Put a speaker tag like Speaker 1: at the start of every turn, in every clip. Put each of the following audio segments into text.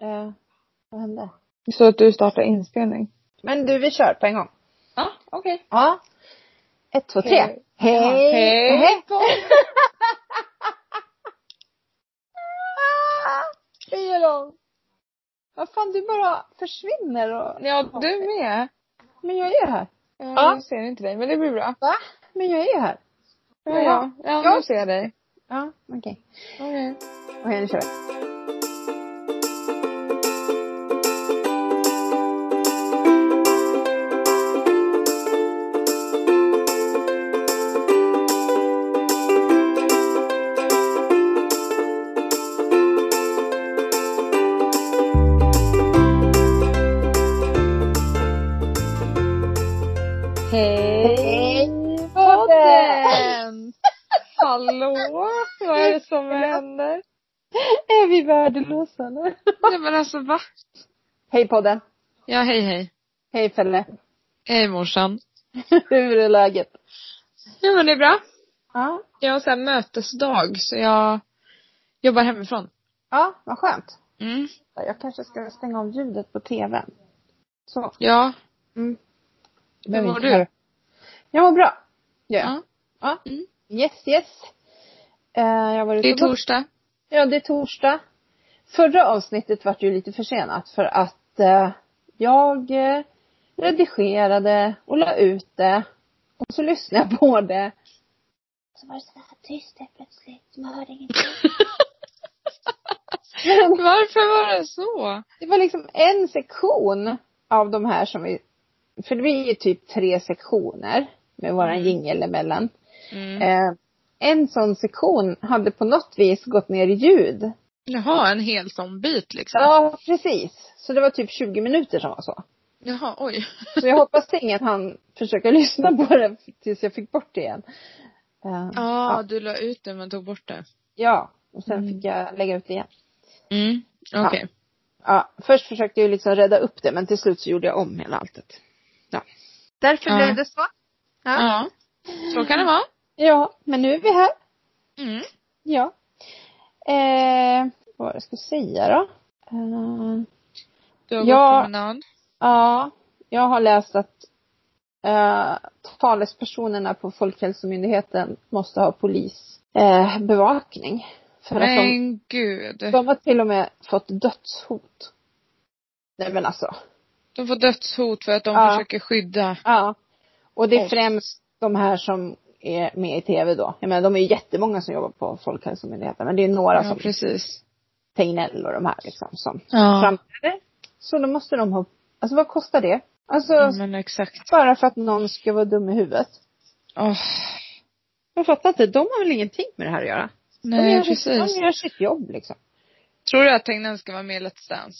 Speaker 1: Eh, vad hände?
Speaker 2: Så att du startar inspelning.
Speaker 1: Men du, vi kör på en gång.
Speaker 2: Ja, okej.
Speaker 1: Ja. Ett, två, tre.
Speaker 2: Hej.
Speaker 1: Hej!
Speaker 2: Hej.
Speaker 1: Hej. Ah, Hej då! Vad fan, du bara försvinner och...
Speaker 2: Ja, du med.
Speaker 1: Men jag är här.
Speaker 2: Jag
Speaker 1: Ja.
Speaker 2: ser inte dig, men det blir bra.
Speaker 1: Va? Men jag är här.
Speaker 2: Ja, ja. ja
Speaker 1: Ja.
Speaker 2: nu ser jag dig.
Speaker 1: Ja, okej.
Speaker 2: Okej.
Speaker 1: Okej, nu kör vi.
Speaker 2: Hej!
Speaker 1: Podden!
Speaker 2: Hallå! Vad är det som händer?
Speaker 1: Är vi värdelösa eller?
Speaker 2: Nej men alltså va?
Speaker 1: Hej podden!
Speaker 2: Ja, hej hej.
Speaker 1: Hej Felle!
Speaker 2: Hej morsan.
Speaker 1: Hur är läget?
Speaker 2: Ja men det är bra.
Speaker 1: Ja.
Speaker 2: Jag har så här mötesdag, så jag jobbar hemifrån.
Speaker 1: Ja, vad skönt.
Speaker 2: Mm.
Speaker 1: Jag kanske ska stänga av ljudet på tvn. Så.
Speaker 2: Ja. Hur mår du?
Speaker 1: Jag mår bra. Ja.
Speaker 2: Ja.
Speaker 1: ja. ja.
Speaker 2: Mm.
Speaker 1: Yes, yes. Eh, jag har varit
Speaker 2: Det är
Speaker 1: ute och-
Speaker 2: torsdag.
Speaker 1: Ja, det är torsdag. Förra avsnittet var ju lite försenat för att eh, jag eh, redigerade och la ut det. Och så lyssnade jag på det.
Speaker 3: så var det så här tyst helt plötsligt. Man hörde ingenting.
Speaker 2: Varför var det så?
Speaker 1: Det var liksom en sektion av de här som vi, för det blir ju typ tre sektioner med våran jingel emellan.
Speaker 2: Mm.
Speaker 1: Eh, en sån sektion hade på något vis gått ner i ljud.
Speaker 2: Jaha, en hel sån bit liksom.
Speaker 1: Ja, precis. Så det var typ 20 minuter som var så.
Speaker 2: Jaha, oj.
Speaker 1: Så jag hoppas ingen han försöka lyssna på det tills jag fick bort det igen. Eh,
Speaker 2: Ja, du la ut det men tog bort det.
Speaker 1: ja, och sen
Speaker 2: Mm.
Speaker 1: fick jag lägga ut det igen.
Speaker 2: Mm, okej.
Speaker 1: Ja, först försökte jag ju liksom rädda upp det men till slut så gjorde jag om hela alltet. Ja. Därför
Speaker 2: Ja.
Speaker 1: blev det så.
Speaker 2: Ja.
Speaker 1: Ja.
Speaker 2: Så kan det vara.
Speaker 1: ja, men nu är vi här.
Speaker 2: Mm.
Speaker 1: Ja. Eh, vad var det jag skulle säga då? Eh,
Speaker 2: Du har
Speaker 1: Ja.
Speaker 2: gått promenad.
Speaker 1: ja, jag har läst att eh, talespersonerna på Folkhälsomyndigheten måste ha polisbevakning. Eh, bevakning. för att de,
Speaker 2: Men gud.
Speaker 1: de har till och med fått dödshot. Nej men alltså.
Speaker 2: De får dödshot för att de
Speaker 1: Ja.
Speaker 2: försöker skydda.
Speaker 1: Ja. Och det är
Speaker 2: Oss.
Speaker 1: främst de här som är med i tv då. Jag menar de är ju jättemånga som jobbar på Folkhälsomyndigheten men det är några
Speaker 2: ja,
Speaker 1: som
Speaker 2: precis.
Speaker 1: Tegnell och de här liksom som
Speaker 2: Ja.
Speaker 1: framträder. Så då måste de ha, alltså vad kostar det? Alltså
Speaker 2: ja, men exakt.
Speaker 1: bara för att någon ska vara dum i huvudet.
Speaker 2: Åh,
Speaker 1: Jag fattar inte, de har väl ingenting med det här att göra? de,
Speaker 2: nej,
Speaker 1: gör
Speaker 2: precis.
Speaker 1: Sitt, de gör sitt jobb liksom.
Speaker 2: Tror du att Tegnell ska vara med i Let's Dance?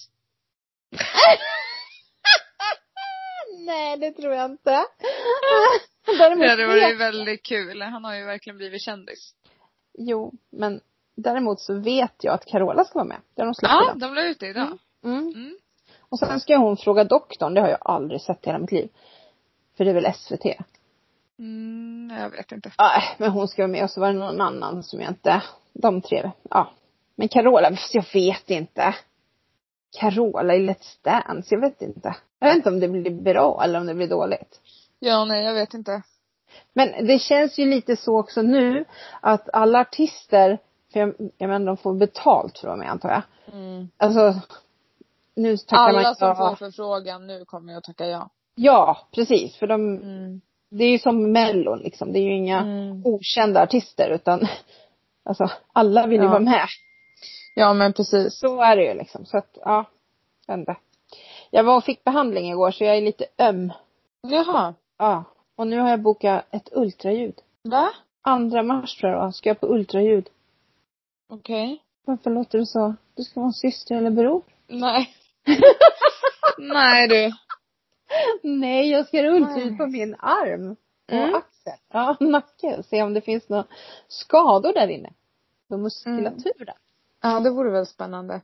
Speaker 1: Nej, det tror jag inte. däremot,
Speaker 2: Det hade varit
Speaker 1: vet,
Speaker 2: väldigt kul. Han har ju verkligen blivit kändis.
Speaker 1: jo, men däremot så vet jag att Carola ska vara med. Det har de släppt
Speaker 2: Ja,
Speaker 1: idag.
Speaker 2: de la ut det idag.
Speaker 1: Mm.
Speaker 2: Mm.
Speaker 1: Och sen ska hon fråga doktorn, det har jag aldrig sett i hela mitt liv. För det är väl SVT?
Speaker 2: Mm, jag vet inte.
Speaker 1: Nej, men hon ska vara med och så var det någon annan som jag inte, de tre, ja. Men Carola, fast jag vet inte. Carola i Let's Dance, jag vet inte. Jag vet inte om det blir bra eller om det blir dåligt.
Speaker 2: Ja, nej, jag vet inte.
Speaker 1: Men det känns ju lite så också nu att alla artister, för jag, jag menar de får betalt för att vara med antar jag.
Speaker 2: Mm.
Speaker 1: Alltså, nu tackar man
Speaker 2: Alla som
Speaker 1: ja.
Speaker 2: får förfrågan nu kommer jag att tacka ja.
Speaker 1: Ja, precis. För de,
Speaker 2: Mm.
Speaker 1: det är ju som Mellon liksom. Det är ju inga
Speaker 2: Mm.
Speaker 1: okända artister utan alltså alla vill ju
Speaker 2: Ja.
Speaker 1: vara med.
Speaker 2: Ja, men precis.
Speaker 1: Så är det ju liksom. Så att, ja. Vänta. Jag var och fick behandling igår så jag är lite öm.
Speaker 2: Jaha.
Speaker 1: Ja. Och nu har jag bokat ett ultraljud.
Speaker 2: Va?
Speaker 1: Andra mars tror jag det var, ska jag på ultraljud.
Speaker 2: Okej.
Speaker 1: Varför låter du så? Du ska vara en syster eller bror?
Speaker 2: Nej. Nej du.
Speaker 1: Nej, jag ska göra ultraljud på min arm. Och
Speaker 2: Mm.
Speaker 1: axel. Ja, nacke. Se om det finns några skador där inne. På muskulaturen.
Speaker 2: Mm. Ja, det vore väl spännande.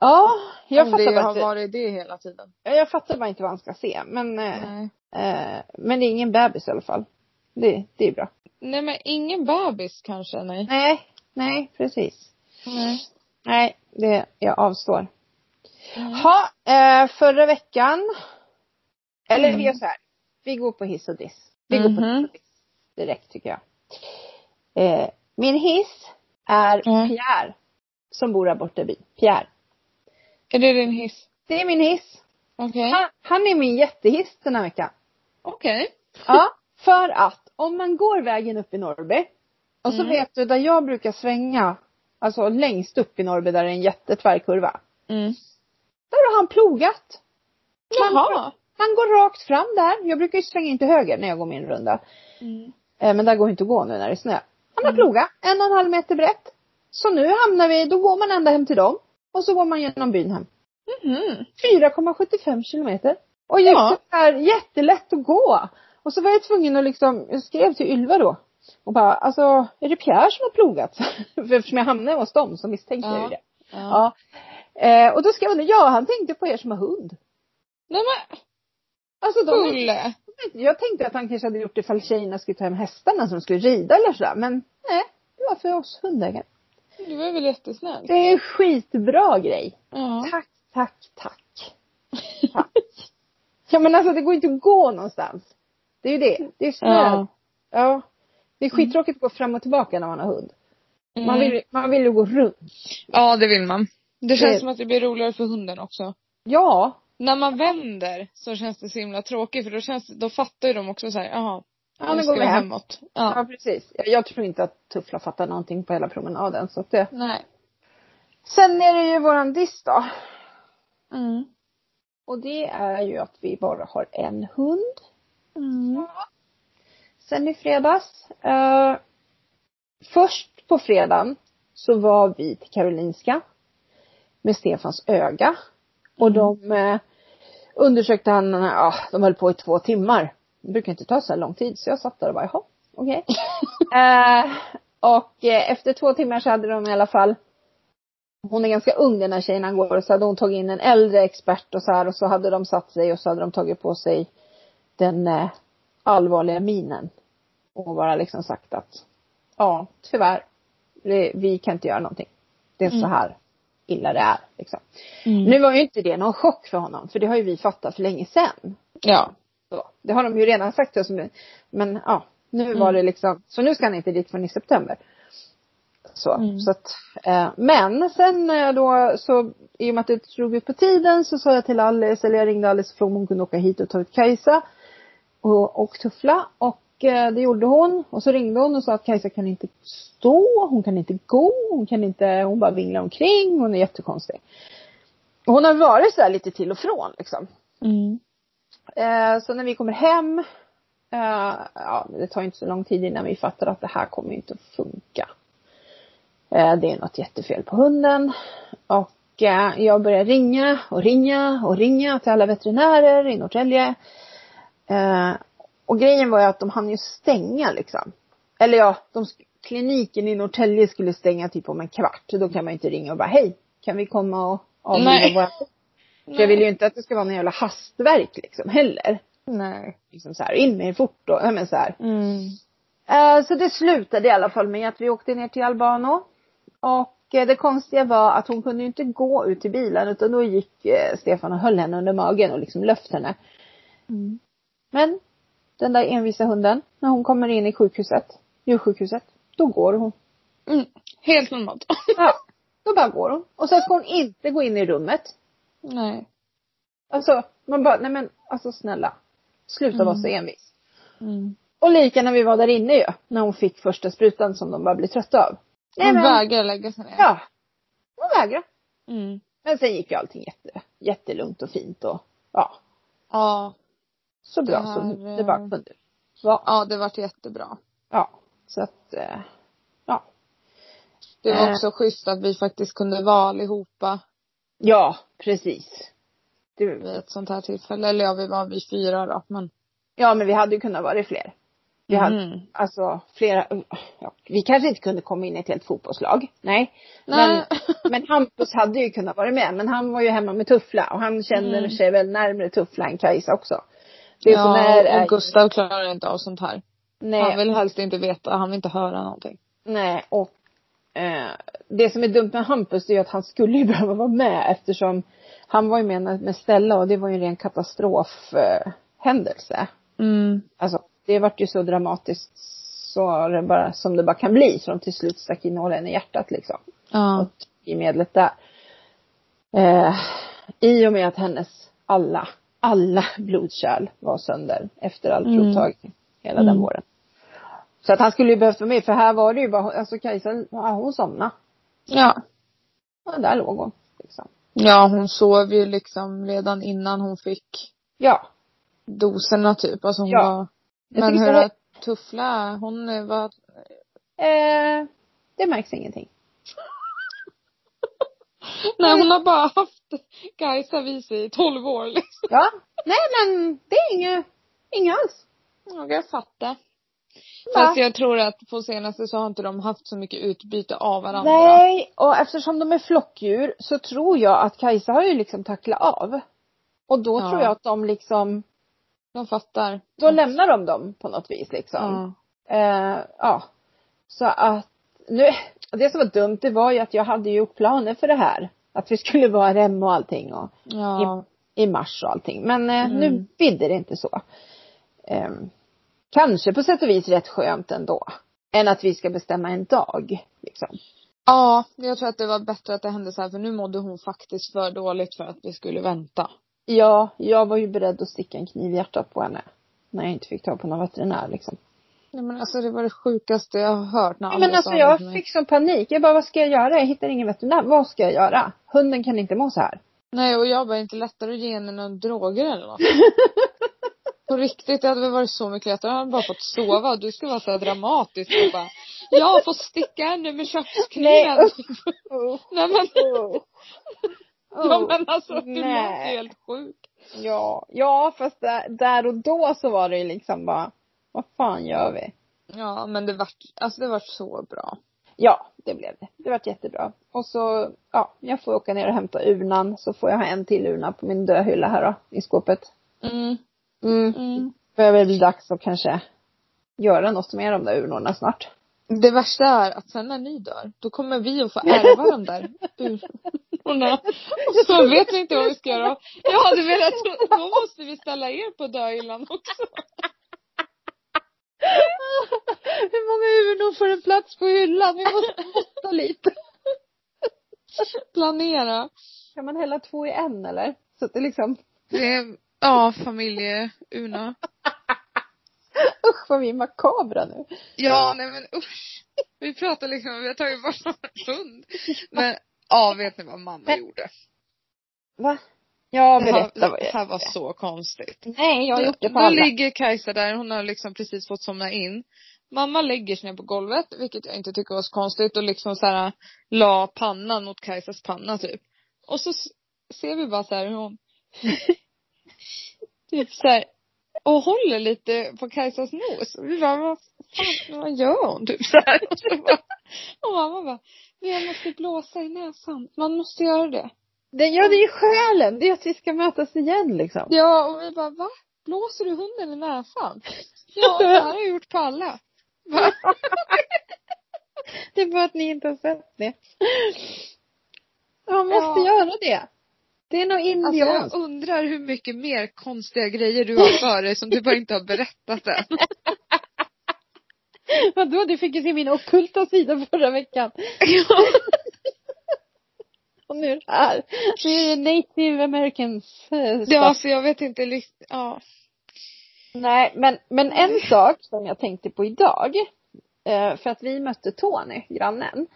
Speaker 1: Ja, jag
Speaker 2: Om
Speaker 1: fattar,
Speaker 2: det
Speaker 1: bara
Speaker 2: har
Speaker 1: inte,
Speaker 2: varit det hela tiden.
Speaker 1: jag fattar bara inte vad han ska se. Men, eh,
Speaker 2: Nej.
Speaker 1: eh, men det är ingen bebis i alla fall. Det, det är bra.
Speaker 2: Nej men ingen bebis kanske, nej.
Speaker 1: Nej, nej precis.
Speaker 2: Nej.
Speaker 1: Nej, det, jag avstår. Ha, eh, förra veckan. Eller
Speaker 2: Mm.
Speaker 1: vi gör så här. Vi går på hiss och diss. Vi går på
Speaker 2: Mhm.
Speaker 1: hiss och diss direkt tycker jag. Eh, min hiss är
Speaker 2: Mm.
Speaker 1: Pierre. Som bor där borta i byn. Pierre.
Speaker 2: Är det din hiss?
Speaker 1: Det är min hiss.
Speaker 2: Okej.
Speaker 1: Han, han är min jättehiss den här veckan.
Speaker 2: Okej.
Speaker 1: Ja, för att om man går vägen upp i Norrby och så
Speaker 2: Mm.
Speaker 1: vet du där jag brukar svänga, alltså längst upp i Norrby där det är en jättetvärkurva.
Speaker 2: Mm.
Speaker 1: Där har han plogat. Han,
Speaker 2: Jaha.
Speaker 1: han går rakt fram där. Jag brukar ju svänga in till höger när jag går min runda.
Speaker 2: Mm.
Speaker 1: Eh, men där går inte att gå nu när det är snö. Han har plogat en och en halv meter brett. Så nu hamnar vi, då går man ända hem till dem. Och så går man genom byn hem.
Speaker 2: Mhm.
Speaker 1: 4,75 kilometer. Och just
Speaker 2: Ja.
Speaker 1: det här, jättelätt att gå. Och så var jag tvungen att liksom, jag skrev till Ylva då. Och bara, alltså, är det Pierre som har plogat? För eftersom jag hamnade hos dem så misstänkte jag
Speaker 2: Ja.
Speaker 1: ju det.
Speaker 2: Ja.
Speaker 1: Ja. Eh, och då skrev hon, ja han tänkte på er som har hund.
Speaker 2: Nej men
Speaker 1: Alltså de,
Speaker 2: Olle.
Speaker 1: jag tänkte att han kanske hade gjort det ifall tjejerna skulle ta hem hästarna som skulle rida eller sådär. Men nej, det var för oss hundägare.
Speaker 2: Du var väl jättesnäll?
Speaker 1: Det är en skitbra grej.
Speaker 2: Ja.
Speaker 1: Tack, tack, tack. tack. Ja men alltså det går inte att gå någonstans. Det är ju det. Det är snö.
Speaker 2: Ja.
Speaker 1: Ja. Mm. Det är skittråkigt att gå fram och tillbaka när man har hund. Man, vill, man vill ju gå runt.
Speaker 2: Mm. Ja det vill man. Det känns
Speaker 1: Det-
Speaker 2: som att det blir roligare för hunden också.
Speaker 1: Ja.
Speaker 2: När man vänder så känns det så himla tråkigt för då känns det, då fattar ju de också såhär, jaha.
Speaker 1: Ja,
Speaker 2: nu
Speaker 1: nu
Speaker 2: ska
Speaker 1: går
Speaker 2: vi
Speaker 1: vi hem.
Speaker 2: hemåt.
Speaker 1: Ja.
Speaker 2: Ja.
Speaker 1: precis. Jag, jag tror inte att Tuffla fattar någonting på hela promenaden så att det.
Speaker 2: Nej.
Speaker 1: Sen är det ju våran diss då.
Speaker 2: Mm.
Speaker 1: Och det är ju att vi bara har en hund.
Speaker 2: Mm.
Speaker 1: Sen i fredags. Eh, först på fredagen så var vi till Karolinska med Stefans öga. Och de eh, undersökte han, eh, ja de höll på i två timmar. Det brukar inte ta så här lång tid så jag satt där och bara jaha, okej. eh, och eh, efter två timmar så hade de i alla fall hon är ganska ung den här tjejen han går och så hade hon tagit in en äldre expert och så här och så hade de satt sig och så hade de tagit på sig den eh, allvarliga minen. Och bara liksom sagt att ja, tyvärr, det, vi kan inte göra någonting. Det är så
Speaker 2: Mm.
Speaker 1: här illa det är liksom.
Speaker 2: Mm.
Speaker 1: Nu var ju inte det någon chock för honom för det har ju vi fattat för länge sedan.
Speaker 2: Ja.
Speaker 1: Så, det har de ju redan sagt till oss nu. Men ja, nu var det liksom, så nu ska han inte dit förrän i september. Så,
Speaker 2: Mm.
Speaker 1: så att, eh, men sen eh, då så i och med att det drog ut på tiden så sa jag till Alice, eller jag ringde Alice och frågade om hon kunde åka hit och ta ut Kajsa och, och Tuffla och eh, det gjorde hon och så ringde hon och sa att Kajsa kan inte stå, hon kan inte gå, hon kan inte, hon bara vinglar omkring, hon är jättekonstig. Och hon har varit så här lite till och från liksom.
Speaker 2: Mm.
Speaker 1: Eh, så när vi kommer hem, eh, ja det tar ju inte så lång tid innan vi fattar att det här kommer ju inte att funka. Eh, det är något jättefel på hunden. Och eh, jag börjar ringa och ringa och ringa till alla veterinärer i Norrtälje. Eh, och grejen var ju att de hann ju stänga liksom. Eller ja, de, sk- kliniken i Norrtälje skulle stänga typ om en kvart. Då kan man ju inte ringa och bara hej, kan vi komma och avliva
Speaker 2: Nej.
Speaker 1: våra för jag vill ju inte att det ska vara någon jävla hastverk liksom heller.
Speaker 2: Nej.
Speaker 1: Liksom så här, in med er fort då. Ja, men så här.
Speaker 2: Mm.
Speaker 1: Eh, så det slutade i alla fall med att vi åkte ner till Albano. Och eh, det konstiga var att hon kunde ju inte gå ut till bilen utan då gick eh, Stefan och höll henne under magen och liksom löft henne.
Speaker 2: Mm.
Speaker 1: Men den där envisa hunden, när hon kommer in i sjukhuset, djursjukhuset, då går hon.
Speaker 2: Mm. Helt normalt.
Speaker 1: Ja, då bara går hon. Och sen ska hon inte gå in i rummet.
Speaker 2: Nej.
Speaker 1: Alltså, man bara, nej men alltså snälla. Sluta vara så envis.
Speaker 2: Mm.
Speaker 1: Och lika när vi var där inne ju, när hon fick första sprutan som de bara blev trötta av. Nej,
Speaker 2: Hon
Speaker 1: men,
Speaker 2: vägrar lägga sig ner.
Speaker 1: ja. Hon vägrade.
Speaker 2: Mm.
Speaker 1: Men sen gick ju allting jätte, jättelugnt och fint och ja,
Speaker 2: Ja.
Speaker 1: så bra
Speaker 2: Det här,
Speaker 1: som det
Speaker 2: eh,
Speaker 1: bara kunde vara.
Speaker 2: Ja, det vart jättebra.
Speaker 1: Ja, så att eh, ja.
Speaker 2: Det var
Speaker 1: Eh.
Speaker 2: också schysst att vi faktiskt kunde vara allihopa
Speaker 1: Ja, precis.
Speaker 2: vid
Speaker 1: Du,
Speaker 2: ett sånt här tillfälle. Eller ja, vi var vi fyra då. Men.
Speaker 1: ja, men vi hade ju kunnat vara fler. Vi hade,
Speaker 2: Mm.
Speaker 1: alltså flera, ja, vi kanske inte kunde komma in i ett helt fotbollslag. Nej.
Speaker 2: Nej.
Speaker 1: Men, men Hampus hade ju kunnat vara med. Men han var ju hemma med Tuffla och han känner
Speaker 2: Mm.
Speaker 1: sig väl närmare Tuffla än Kajsa också. Det som är,
Speaker 2: Ja,
Speaker 1: är
Speaker 2: och Gustav klarar inte av sånt här.
Speaker 1: nej,
Speaker 2: Han vill helst inte veta. Han vill inte höra någonting.
Speaker 1: nej, och Eh, det som är dumt med Hampus det är ju att han skulle ju behöva vara med eftersom han var ju med när- med Stella och det var ju en ren katastrofhändelse. Eh, händelse.
Speaker 2: Mm.
Speaker 1: alltså det vart ju så dramatiskt så det bara, som det bara kan bli så de till slut stack in nålen i hjärtat liksom
Speaker 2: Ja.
Speaker 1: och i medlet där. Eh, I och med att hennes alla, alla blodkärl var sönder efter all
Speaker 2: Mm.
Speaker 1: provtagning hela den
Speaker 2: Mm.
Speaker 1: våren. Så att han skulle ju behövt vara med för här var det ju bara, alltså Kajsa, ja, hon somnade.
Speaker 2: ja.
Speaker 1: Ja, där låg hon. Liksom.
Speaker 2: Ja, hon sov ju liksom redan innan hon fick
Speaker 1: Ja.
Speaker 2: doserna typ. Alltså hon
Speaker 1: Ja.
Speaker 2: var...
Speaker 1: Jag
Speaker 2: Men
Speaker 1: tyckte
Speaker 2: hur
Speaker 1: hon-
Speaker 2: är Tuffla, hon eh, var...
Speaker 1: Eh, det märks ingenting.
Speaker 2: Nej hon har bara haft Kajsa vid sig i 12 år liksom.
Speaker 1: Ja. Nej men det är inget, inget alls.
Speaker 2: Ja, Jag fattar.
Speaker 1: Va?
Speaker 2: Fast jag tror att på senaste så har inte de haft så mycket utbyte av varandra.
Speaker 1: Nej, och eftersom de är flockdjur så tror jag att Kajsa har ju liksom tacklat av. Och då
Speaker 2: Ja.
Speaker 1: tror jag att de liksom,
Speaker 2: De fattar.
Speaker 1: då lämnar de dem på något vis liksom.
Speaker 2: Ja.
Speaker 1: Eh, ja. Så att nu, det som var dumt det var ju att jag hade gjort planer för det här. Att vi skulle vara hemma och allting och
Speaker 2: Ja.
Speaker 1: i mars och allting. Men eh,
Speaker 2: Mm.
Speaker 1: nu bidde det inte så. Eh, kanske på sätt och vis rätt skönt ändå. Än att vi ska bestämma en dag. Liksom.
Speaker 2: ja, jag tror att det var bättre att det hände så här för nu mådde hon faktiskt för dåligt för att vi skulle vänta.
Speaker 1: Ja, jag var ju beredd att sticka en kniv i hjärtat på henne. När jag inte fick tag på någon veterinär liksom.
Speaker 2: Nej men alltså det var det sjukaste jag har hört när
Speaker 1: Ja, men
Speaker 2: Anders
Speaker 1: alltså
Speaker 2: sa det
Speaker 1: jag
Speaker 2: till mig.
Speaker 1: fick sån panik. Jag bara, vad ska jag göra? Jag hittar ingen veterinär. Vad ska jag göra? Hunden kan inte må så här.
Speaker 2: Nej och jag bara, är det inte lättare att ge henne några droger eller något? På riktigt, det hade väl varit så mycket lättare. Han hade bara fått sova och du skulle vara så här dramatisk och bara Jag får sticka henne med
Speaker 1: Nej,
Speaker 2: kökskniven.
Speaker 1: Oh.
Speaker 2: Nej men, ja men alltså du låter ju
Speaker 1: nej.
Speaker 2: helt sjuk.
Speaker 1: Ja, ja fast där, där och då så var det ju liksom bara, vad fan gör vi?
Speaker 2: Ja men det vart, alltså det vart så bra.
Speaker 1: Ja, det blev det. Det vart jättebra. Och så, ja, jag får åka ner och hämta urnan. Så får jag ha en till urna på min döhylla här då, i skåpet.
Speaker 2: Mm,
Speaker 1: Mm.
Speaker 2: mm.
Speaker 1: börjar väl bli dags att kanske göra något med de där urnorna snart.
Speaker 2: Det värsta är att sen när ni dör, då kommer vi att få ärva de där urnorna. Och så vet vi inte vad vi ska göra. Jag hade velat, då måste vi ställa er på döhyllan också.
Speaker 1: Hur många urnor får en plats på hyllan? Vi måste måtta lite.
Speaker 2: Planera.
Speaker 1: Kan man hälla två i en eller? Så att det liksom,
Speaker 2: Det är, ja, familjeurna.
Speaker 1: usch vad vi är makabra nu.
Speaker 2: Ja, nej men usch. Vi pratar liksom, vi har tagit varsin hund. Men ja, vet ni vad mamma
Speaker 1: Men-
Speaker 2: gjorde?
Speaker 1: Va? Ja,
Speaker 2: Det här-
Speaker 1: berätta vad
Speaker 2: Det
Speaker 1: jag
Speaker 2: här var så konstigt.
Speaker 1: Nej, jag har gjort det på
Speaker 2: då
Speaker 1: alla.
Speaker 2: ligger Kajsa där, hon har liksom precis fått somna in. Mamma lägger sig ner på golvet, vilket jag inte tycker var så konstigt och liksom så här la pannan mot Kajsas panna typ. Och så s- ser vi bara så här hur hon typ så här och håller lite på Kajsas nos. Och vi bara, vad fan, vad gör hon? Typ så här. Och, så bara, och mamma bara, jag måste blåsa i näsan. Man måste göra det.
Speaker 1: Det, ja, det är ju själen. Det är att vi ska mötas igen liksom.
Speaker 2: Ja, och vi bara, va? Blåser du hunden i näsan? Ja, det här har jag gjort på alla. Va?
Speaker 1: Det är bara att ni inte har sett det. Ja, måste
Speaker 2: Ja.
Speaker 1: göra det. Det är nog
Speaker 2: Alltså,
Speaker 1: indianskt.
Speaker 2: jag undrar hur mycket mer konstiga grejer du har för dig som du bara inte har berättat än.
Speaker 1: Vadå, du fick ju se min ockulta sida förra veckan.
Speaker 2: Ja.
Speaker 1: Och nu är det här. Det är native americans eh,
Speaker 2: Ja,
Speaker 1: stuff.
Speaker 2: alltså jag vet inte riktigt, ja.
Speaker 1: Nej, men, men en sak som jag tänkte på idag. eh, För att vi mötte Tony, grannen.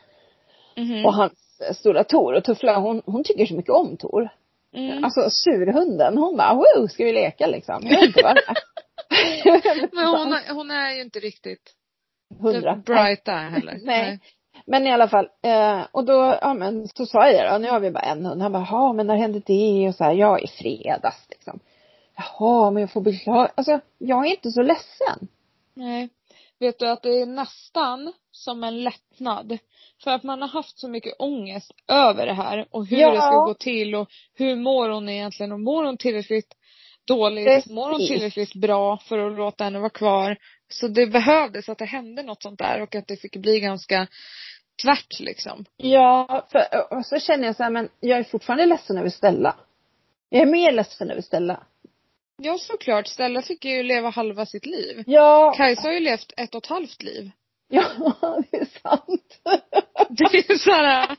Speaker 2: Mhm.
Speaker 1: Och hans eh, stora Tor. Och Tuffla, hon, hon tycker så mycket om Tor.
Speaker 2: Mm.
Speaker 1: Alltså surhunden. Hon bara, wow, ska vi leka liksom? Jag vet inte vad det är. Jag vet inte
Speaker 2: Men
Speaker 1: vad
Speaker 2: hon, har- hon är ju inte riktigt
Speaker 1: Hundra.
Speaker 2: bright där heller.
Speaker 1: Nej. Men i alla fall, eh, och då, ja men så sa jag det, och nu har vi bara en hund. Han bara, ja men när hände det? Och så här, ja i fredags liksom. Jaha, men jag får beklaga. Alltså, jag är inte så ledsen.
Speaker 2: Nej. Vet du att det är nästan som en lättnad. För att man har haft så mycket ångest över det här och hur
Speaker 1: Ja.
Speaker 2: det ska gå till och hur mår hon egentligen och mår hon tillräckligt dåligt?
Speaker 1: Precis.
Speaker 2: Mår hon tillräckligt bra för att låta henne vara kvar? Så det behövdes att det hände något sånt där och att det fick bli ganska tvärt liksom.
Speaker 1: Ja, för, och så känner jag så här, men jag är fortfarande ledsen över Stella. Jag är mer ledsen över Stella.
Speaker 2: Ja såklart, Stella fick ju leva halva sitt liv.
Speaker 1: Ja.
Speaker 2: Kajsa har ju levt ett och ett halvt liv.
Speaker 1: Ja, det är sant.
Speaker 2: Det är såhär,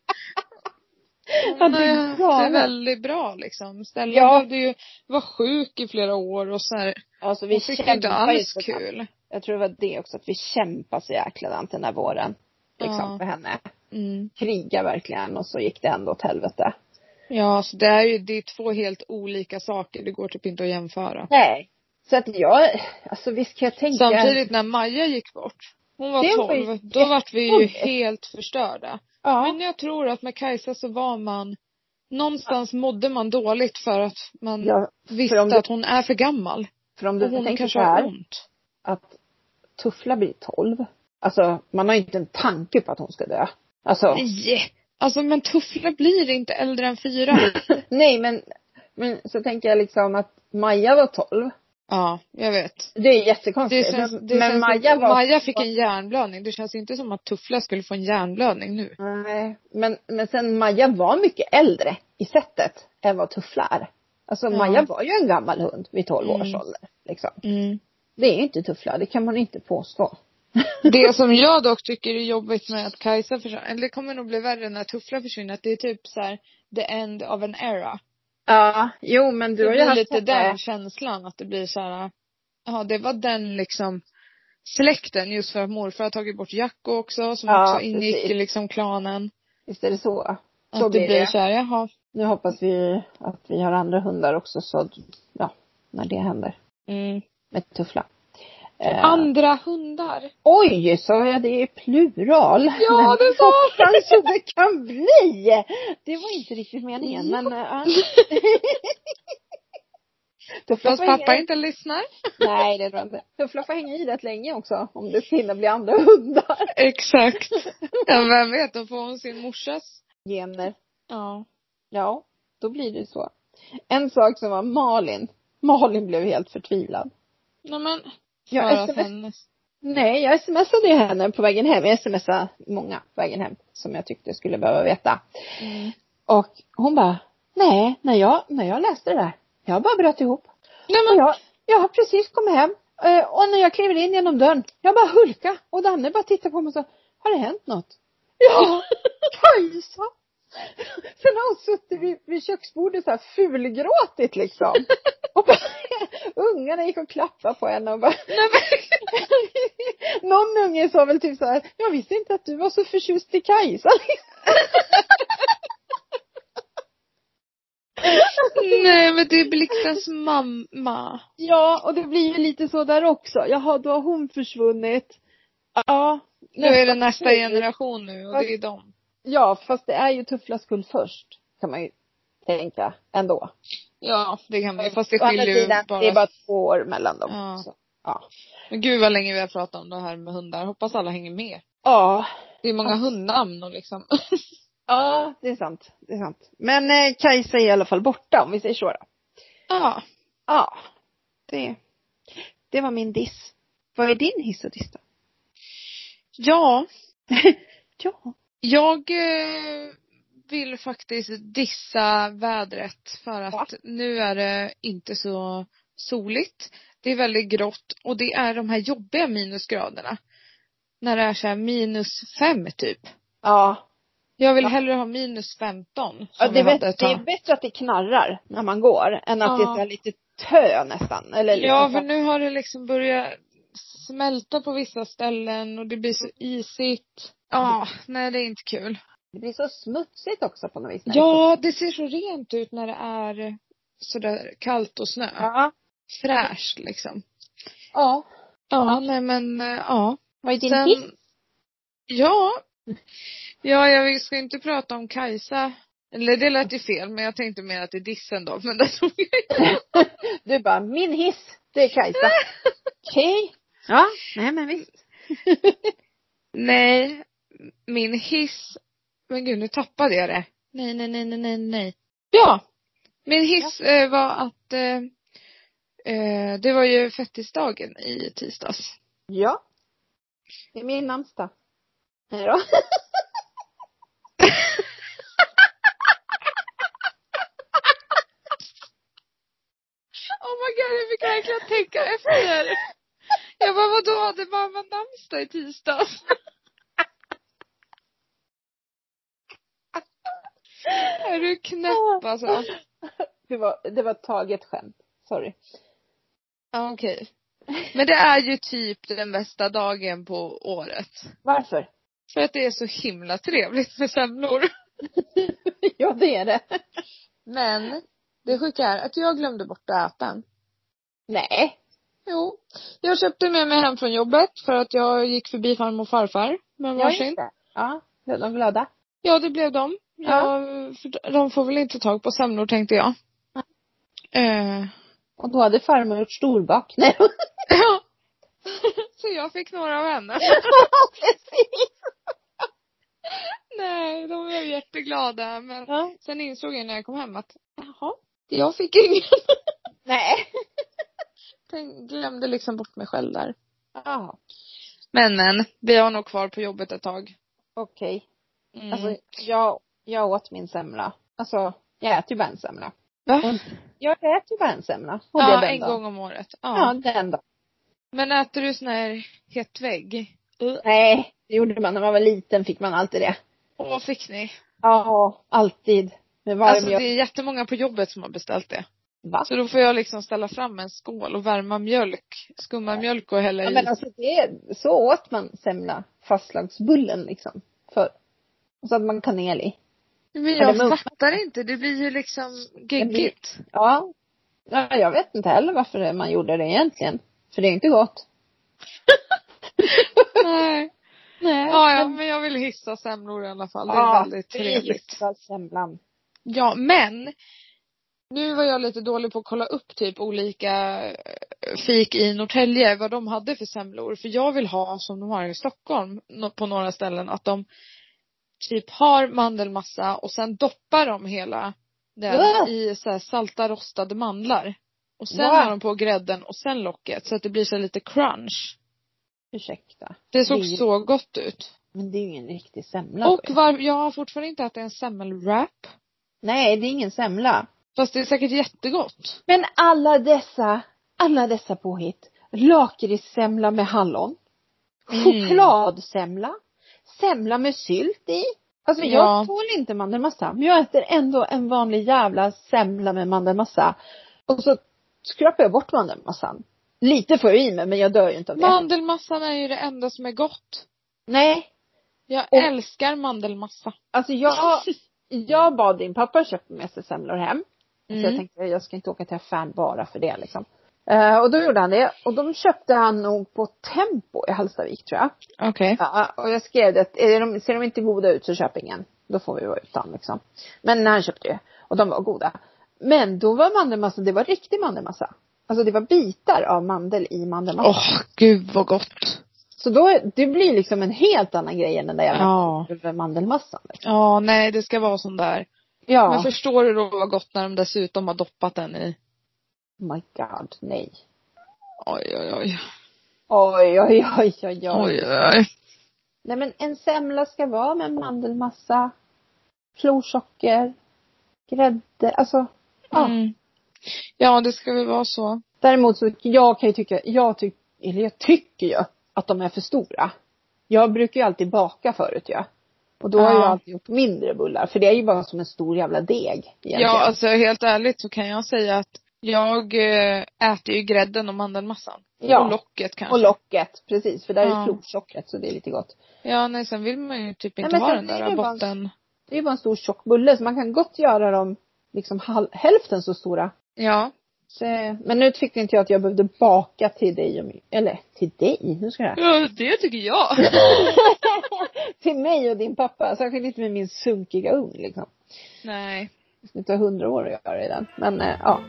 Speaker 1: Ja,
Speaker 2: hon har
Speaker 1: det
Speaker 2: ju
Speaker 1: är
Speaker 2: haft det
Speaker 1: galet.
Speaker 2: väldigt bra liksom. Stella
Speaker 1: Ja.
Speaker 2: behövde ju vara sjuk i flera år och så här.
Speaker 1: Alltså vi
Speaker 2: Hon fick ju inte
Speaker 1: kämpar ju
Speaker 2: alls
Speaker 1: så kul.
Speaker 2: kul.
Speaker 1: Jag tror det var det också, att vi kämpar så jäkla dant den här våren. Liksom
Speaker 2: Ja.
Speaker 1: för henne.
Speaker 2: Mm.
Speaker 1: Kriga verkligen och så gick det ändå åt helvete.
Speaker 2: Ja, så det är ju, det är två helt olika saker. Det går typ inte att jämföra.
Speaker 1: Nej. Så att jag, alltså visst kan jag tänka.
Speaker 2: Samtidigt när Maja gick bort. Hon var
Speaker 1: Det var ju
Speaker 2: 12. Då vart vi ju
Speaker 1: jättejobbigt.
Speaker 2: helt förstörda.
Speaker 1: Ja.
Speaker 2: Men jag tror att med Kajsa så var man Någonstans mådde man dåligt för att man
Speaker 1: ja.
Speaker 2: visste
Speaker 1: för om du-
Speaker 2: att hon är för gammal.
Speaker 1: För om
Speaker 2: Och
Speaker 1: du
Speaker 2: hon
Speaker 1: tänker
Speaker 2: kanske
Speaker 1: så
Speaker 2: har
Speaker 1: här,
Speaker 2: ont.
Speaker 1: att Tuffla blir 12. Alltså man har ju inte en tanke på att hon ska dö. Alltså,
Speaker 2: Nej! Alltså men Tuffla blir inte äldre än fyra.
Speaker 1: nej men, men så tänker jag liksom att Maja var 12.
Speaker 2: ja, jag vet.
Speaker 1: Det är
Speaker 2: Det
Speaker 1: jättekonstigt.
Speaker 2: känns,
Speaker 1: men
Speaker 2: det
Speaker 1: men
Speaker 2: känns
Speaker 1: Maja
Speaker 2: Maja,
Speaker 1: var...
Speaker 2: Maja fick en hjärnblödning. Det känns inte som att Tuffla skulle få en hjärnblödning nu.
Speaker 1: Nej, men, men sen Maja var mycket äldre i sättet än vad Tuffla är. Alltså
Speaker 2: Ja.
Speaker 1: Maja var ju en gammal hund vid 12
Speaker 2: Mm.
Speaker 1: års ålder. Liksom.
Speaker 2: Mm.
Speaker 1: Det är ju inte Tuffla, det kan man inte påstå.
Speaker 2: Det som jag dock tycker är jobbigt med att Kajsa försvinner, eller det kommer nog bli värre när Tuffla försvinner, att det är typ så här the end of an era.
Speaker 1: Ja, jo men
Speaker 2: det
Speaker 1: du har ju
Speaker 2: blir
Speaker 1: haft
Speaker 2: lite den
Speaker 1: henne.
Speaker 2: känslan att det blir så här, ja det var den liksom släkten just för att morfar har tagit bort Jacko också som
Speaker 1: Ja,
Speaker 2: också ingick
Speaker 1: precis.
Speaker 2: i liksom klanen.
Speaker 1: Visst är det så?
Speaker 2: Att
Speaker 1: Så
Speaker 2: det
Speaker 1: blir
Speaker 2: blir
Speaker 1: det.
Speaker 2: så här, jaha.
Speaker 1: Nu hoppas vi att vi har andra hundar också så att, ja, när det händer
Speaker 2: Mm.
Speaker 1: med Tuffla. Eh,
Speaker 2: Andra hundar.
Speaker 1: Oj, sa jag det i plural?
Speaker 2: Ja, det sa du.
Speaker 1: Kanske det kan bli! Det var inte riktigt meningen, men eh, ja. Tuffla
Speaker 2: Fast
Speaker 1: får
Speaker 2: pappa
Speaker 1: hänga, i-
Speaker 2: inte lyssnar.
Speaker 1: nej det tror jag inte. Tuffla får hänga i rätt länge också om det hinner bli andra hundar.
Speaker 2: Exakt. Ja, vem vet, då får hon sin morsas.
Speaker 1: Gener.
Speaker 2: Ja.
Speaker 1: Ja, då blir det så. En sak som var Malin. Malin blev helt förtvivlad.
Speaker 2: Nej men.
Speaker 1: Jag
Speaker 2: för att
Speaker 1: sms
Speaker 2: han-
Speaker 1: Nej, jag smsade ju henne på vägen hem. Jag smsade många på vägen hem som jag tyckte skulle behöva veta.
Speaker 2: Mm.
Speaker 1: Och hon bara, nej, när jag, när jag läste det där, jag bara bröt ihop.
Speaker 2: Nej
Speaker 1: Och
Speaker 2: men
Speaker 1: jag, jag har precis kommit hem eh, och när jag kliver in genom dörren, jag bara hulka och Danne bara tittar på mig och sa, har det hänt något? Ja, Kajsa! Sen har hon suttit vid, vid köksbordet så här fulgråtit liksom. Och bara, ungarna gick och klappade på henne och bara
Speaker 2: Nej, men,
Speaker 1: någon unge sa väl typ så här, jag visste inte att du var så förtjust i Kajsa.
Speaker 2: nej men det är Blixtens mamma.
Speaker 1: Ja, och det blir ju lite så där också. Jaha, då har hon försvunnit. Ja.
Speaker 2: Nu är det nästa generation nu och det är dem.
Speaker 1: Ja, fast det är ju Tufflas skull först, kan man ju tänka ändå.
Speaker 2: Ja, det kan man ju. Mm, Fast det
Speaker 1: Å andra
Speaker 2: skiljer ju
Speaker 1: sidan,
Speaker 2: bara.
Speaker 1: det är bara två år mellan dem.
Speaker 2: Ja.
Speaker 1: Så, ja.
Speaker 2: Men gud vad länge vi har pratat om det här med hundar. Hoppas alla hänger med.
Speaker 1: ja.
Speaker 2: Det är många hundnamn och liksom.
Speaker 1: Ja, det är sant. Det är sant. Men eh, Kajsa är i alla fall borta, om vi säger så då.
Speaker 2: ja.
Speaker 1: Ja. Det, det var min diss. Vad är din hiss och diss då?
Speaker 2: Ja,
Speaker 1: Ja.
Speaker 2: jag eh, vill faktiskt dissa vädret för att
Speaker 1: Ja.
Speaker 2: nu är det inte så soligt. Det är väldigt grått och det är de här jobbiga minusgraderna. När det är så här minus fem typ.
Speaker 1: Ja.
Speaker 2: Jag vill
Speaker 1: Ja.
Speaker 2: hellre ha minus femton.
Speaker 1: Ja,
Speaker 2: som
Speaker 1: det,
Speaker 2: vi
Speaker 1: är
Speaker 2: hade
Speaker 1: bättre,
Speaker 2: ett
Speaker 1: det
Speaker 2: tag.
Speaker 1: är bättre att det knarrar när man går än att det
Speaker 2: Ja.
Speaker 1: är så här lite tö nästan. Eller lite
Speaker 2: Ja,
Speaker 1: så-
Speaker 2: för nu har det liksom börjat smälta på vissa ställen och det blir så isigt. Ja, nej det är inte kul.
Speaker 1: Det blir så smutsigt också på något vis. när det
Speaker 2: Ja, det ser så rent ut när det är sådär kallt och
Speaker 1: är så-
Speaker 2: snö.
Speaker 1: ja.
Speaker 2: Fräscht liksom.
Speaker 1: ja.
Speaker 2: Ja, nej men eh, ja.
Speaker 1: Vad är din
Speaker 2: Sen-
Speaker 1: hiss?
Speaker 2: Ja. Ja, jag ska inte prata om Kajsa. Eller det lät ju fel, men jag tänkte mer att det är dissen då. Men alltså, det tog jag
Speaker 1: Du bara, min hiss, det är Kajsa. Okej. Ja, nej men visst.
Speaker 2: Nej, min hiss. Men gud, nu tappade jag det. Nej, nej, nej, nej, nej, nej. Ja, min hiss eh, var att eh, eh, det var ju fettisdagen i tisdags.
Speaker 1: Ja. Det är min namnsdag. Nej då.
Speaker 2: Oh my god, jag fick verkligen tänka efter. Jag bara, vadå, hade mamma namnsdag i tisdags? Är du knäpp alltså?
Speaker 1: Det var, det var taget skämt. Sorry.
Speaker 2: Ja, okej. Men det är ju typ den bästa dagen på året.
Speaker 1: Varför?
Speaker 2: För att det är så himla trevligt med semlor.
Speaker 1: ja, det är det.
Speaker 2: Men det sjuka är att jag glömde bort att äta den.
Speaker 1: Nej.
Speaker 2: Jo. Jag köpte med mig hem från jobbet för att jag gick förbi farmor och farfar med
Speaker 1: Ja,
Speaker 2: varsin.
Speaker 1: just det. Ja, de var glada.
Speaker 2: Ja, det blev de.
Speaker 1: Ja.
Speaker 2: Jag, för de får väl inte tag på semlor tänkte jag. Eh,
Speaker 1: Och då hade farmor gjort storbak. Nej,
Speaker 2: ja. Så jag fick några av henne.
Speaker 1: precis.
Speaker 2: Nej, de blev jätteglada. Men
Speaker 1: Ja.
Speaker 2: sen insåg jag när jag kom hem att, jaha, jag fick ingen.
Speaker 1: Nej.
Speaker 2: Tänk- Glömde liksom bort mig själv där.
Speaker 1: Ja,
Speaker 2: Men men, vi har nog kvar på jobbet ett tag.
Speaker 1: okej.
Speaker 2: Mm.
Speaker 1: Alltså, jag, jag åt min semla. Alltså, jag äter ju bara en semla.
Speaker 2: Va?
Speaker 1: och- Jag äter ju bara en semla. Och det är
Speaker 2: Ja,
Speaker 1: den
Speaker 2: en
Speaker 1: dagen.
Speaker 2: gång om året. Ja.
Speaker 1: Ja, den dagen.
Speaker 2: Men äter du sån här hetvägg? Uh.
Speaker 1: Nej, det gjorde man när man var liten fick man alltid det.
Speaker 2: Åh, fick ni?
Speaker 1: Ja, alltid. Med varm
Speaker 2: Alltså det
Speaker 1: mjölk.
Speaker 2: är jättemånga på jobbet som har beställt det.
Speaker 1: Va?
Speaker 2: Så då får jag liksom ställa fram en skål och värma mjölk, skumma mjölk och hälla
Speaker 1: Ja,
Speaker 2: i.
Speaker 1: men alltså det, så åt man semla, fastlagsbullen liksom. För Så att man kanel i.
Speaker 2: Men
Speaker 1: Ja,
Speaker 2: jag
Speaker 1: men-
Speaker 2: fattar inte, det blir ju liksom geggigt.
Speaker 1: Ja. ja. Jag vet inte heller varför man gjorde det egentligen. För det är inte gott.
Speaker 2: Nej.
Speaker 1: Nej.
Speaker 2: Ja, ja, men jag vill hissa semlor i alla fall. Det är väldigt trevligt.
Speaker 1: Semlan.
Speaker 2: Ja, men. Nu var jag lite dålig på att kolla upp typ olika eh, fik i Norrtälje, vad de hade för semlor. För jag vill ha som de har i Stockholm nå- på några ställen, att de typ har mandelmassa och sen doppar de hela den
Speaker 1: Wow.
Speaker 2: i så här salta rostade mandlar. Och sen
Speaker 1: Wow.
Speaker 2: har de på grädden och sen locket så att det blir så här lite crunch.
Speaker 1: Ursäkta.
Speaker 2: Det såg
Speaker 1: Det är ju-
Speaker 2: så gott ut.
Speaker 1: Men det är ju ingen riktig semla.
Speaker 2: Och var, jag har fortfarande inte ätit en semmelwrap.
Speaker 1: Nej, det är ingen semla.
Speaker 2: Fast det är säkert jättegott.
Speaker 1: Men alla dessa, alla dessa påhitt. Lakritssemla med hallon.
Speaker 2: Mm.
Speaker 1: Chokladsemla. Semla med sylt i. Alltså jag
Speaker 2: Ja.
Speaker 1: tål inte mandelmassa. Men jag äter ändå en vanlig jävla semla med mandelmassa. Och så skrapar jag bort mandelmassan. Lite får jag i mig men jag dör ju inte av det.
Speaker 2: Mandelmassan är ju det enda som är gott.
Speaker 1: Nej.
Speaker 2: Jag
Speaker 1: Och-
Speaker 2: älskar mandelmassa.
Speaker 1: Alltså jag, jag bad din pappa köpa med sig semlor hem. Så
Speaker 2: Mm.
Speaker 1: jag tänkte jag ska inte åka till affären bara för det liksom. Eh, och då gjorde han det. Och de köpte han nog på Tempo i Hallstavik tror jag.
Speaker 2: Okej.
Speaker 1: Ja, och jag skrev det att är de, ser de inte goda ut så köp ingen. Då får vi vara utan liksom. Men han köpte ju. Och de var goda. Men då var mandelmassa, det var riktig mandelmassa. Alltså det var bitar av mandel i mandelmassa.
Speaker 2: Åh, gud vad gott.
Speaker 1: Så då, det blir liksom en helt annan grej än den där jävla
Speaker 2: Ja.
Speaker 1: mandelmassan. liksom.
Speaker 2: Ja, nej det ska vara sån där.
Speaker 1: Ja.
Speaker 2: Men förstår du då vad gott när de dessutom har doppat den i?
Speaker 1: Oh my god, nej.
Speaker 2: Oj, oj, oj.
Speaker 1: Oj, oj, oj, oj, oj.
Speaker 2: Oj, oj.
Speaker 1: Nej men en semla ska vara med mandelmassa, florsocker, grädde, alltså. Ja.
Speaker 2: Mm. Ja, det ska väl vara så.
Speaker 1: Däremot så, jag kan ju tycka, jag tycker, eller jag tycker ju att de är för stora. Jag brukar ju alltid baka förut ju. Och då har
Speaker 2: Ja.
Speaker 1: jag alltid gjort mindre bullar, för det är ju bara som en stor jävla deg egentligen.
Speaker 2: Ja, alltså helt ärligt så kan jag säga att jag eh, äter ju grädden och mandelmassan.
Speaker 1: Ja.
Speaker 2: Och locket kanske.
Speaker 1: och locket, precis, för där är
Speaker 2: Ja.
Speaker 1: ju florsockret så det är lite gott.
Speaker 2: Ja, nej sen vill man ju typ
Speaker 1: Nej,
Speaker 2: inte
Speaker 1: men
Speaker 2: ha
Speaker 1: sen
Speaker 2: den
Speaker 1: är
Speaker 2: där
Speaker 1: det bara en-
Speaker 2: botten.
Speaker 1: Det är ju bara en stor tjock bulle, så man kan gott göra dem liksom hal- hälften så stora.
Speaker 2: Ja.
Speaker 1: Så, men nu tyckte inte jag att jag behövde baka till dig och min, eller till dig, nu ska jag
Speaker 2: ja, det tycker jag.
Speaker 1: Till mig och din pappa, särskilt inte med min sunkiga ugn liksom.
Speaker 2: nej.
Speaker 1: Det skulle ta hundra år att göra i den. Men eh, ja.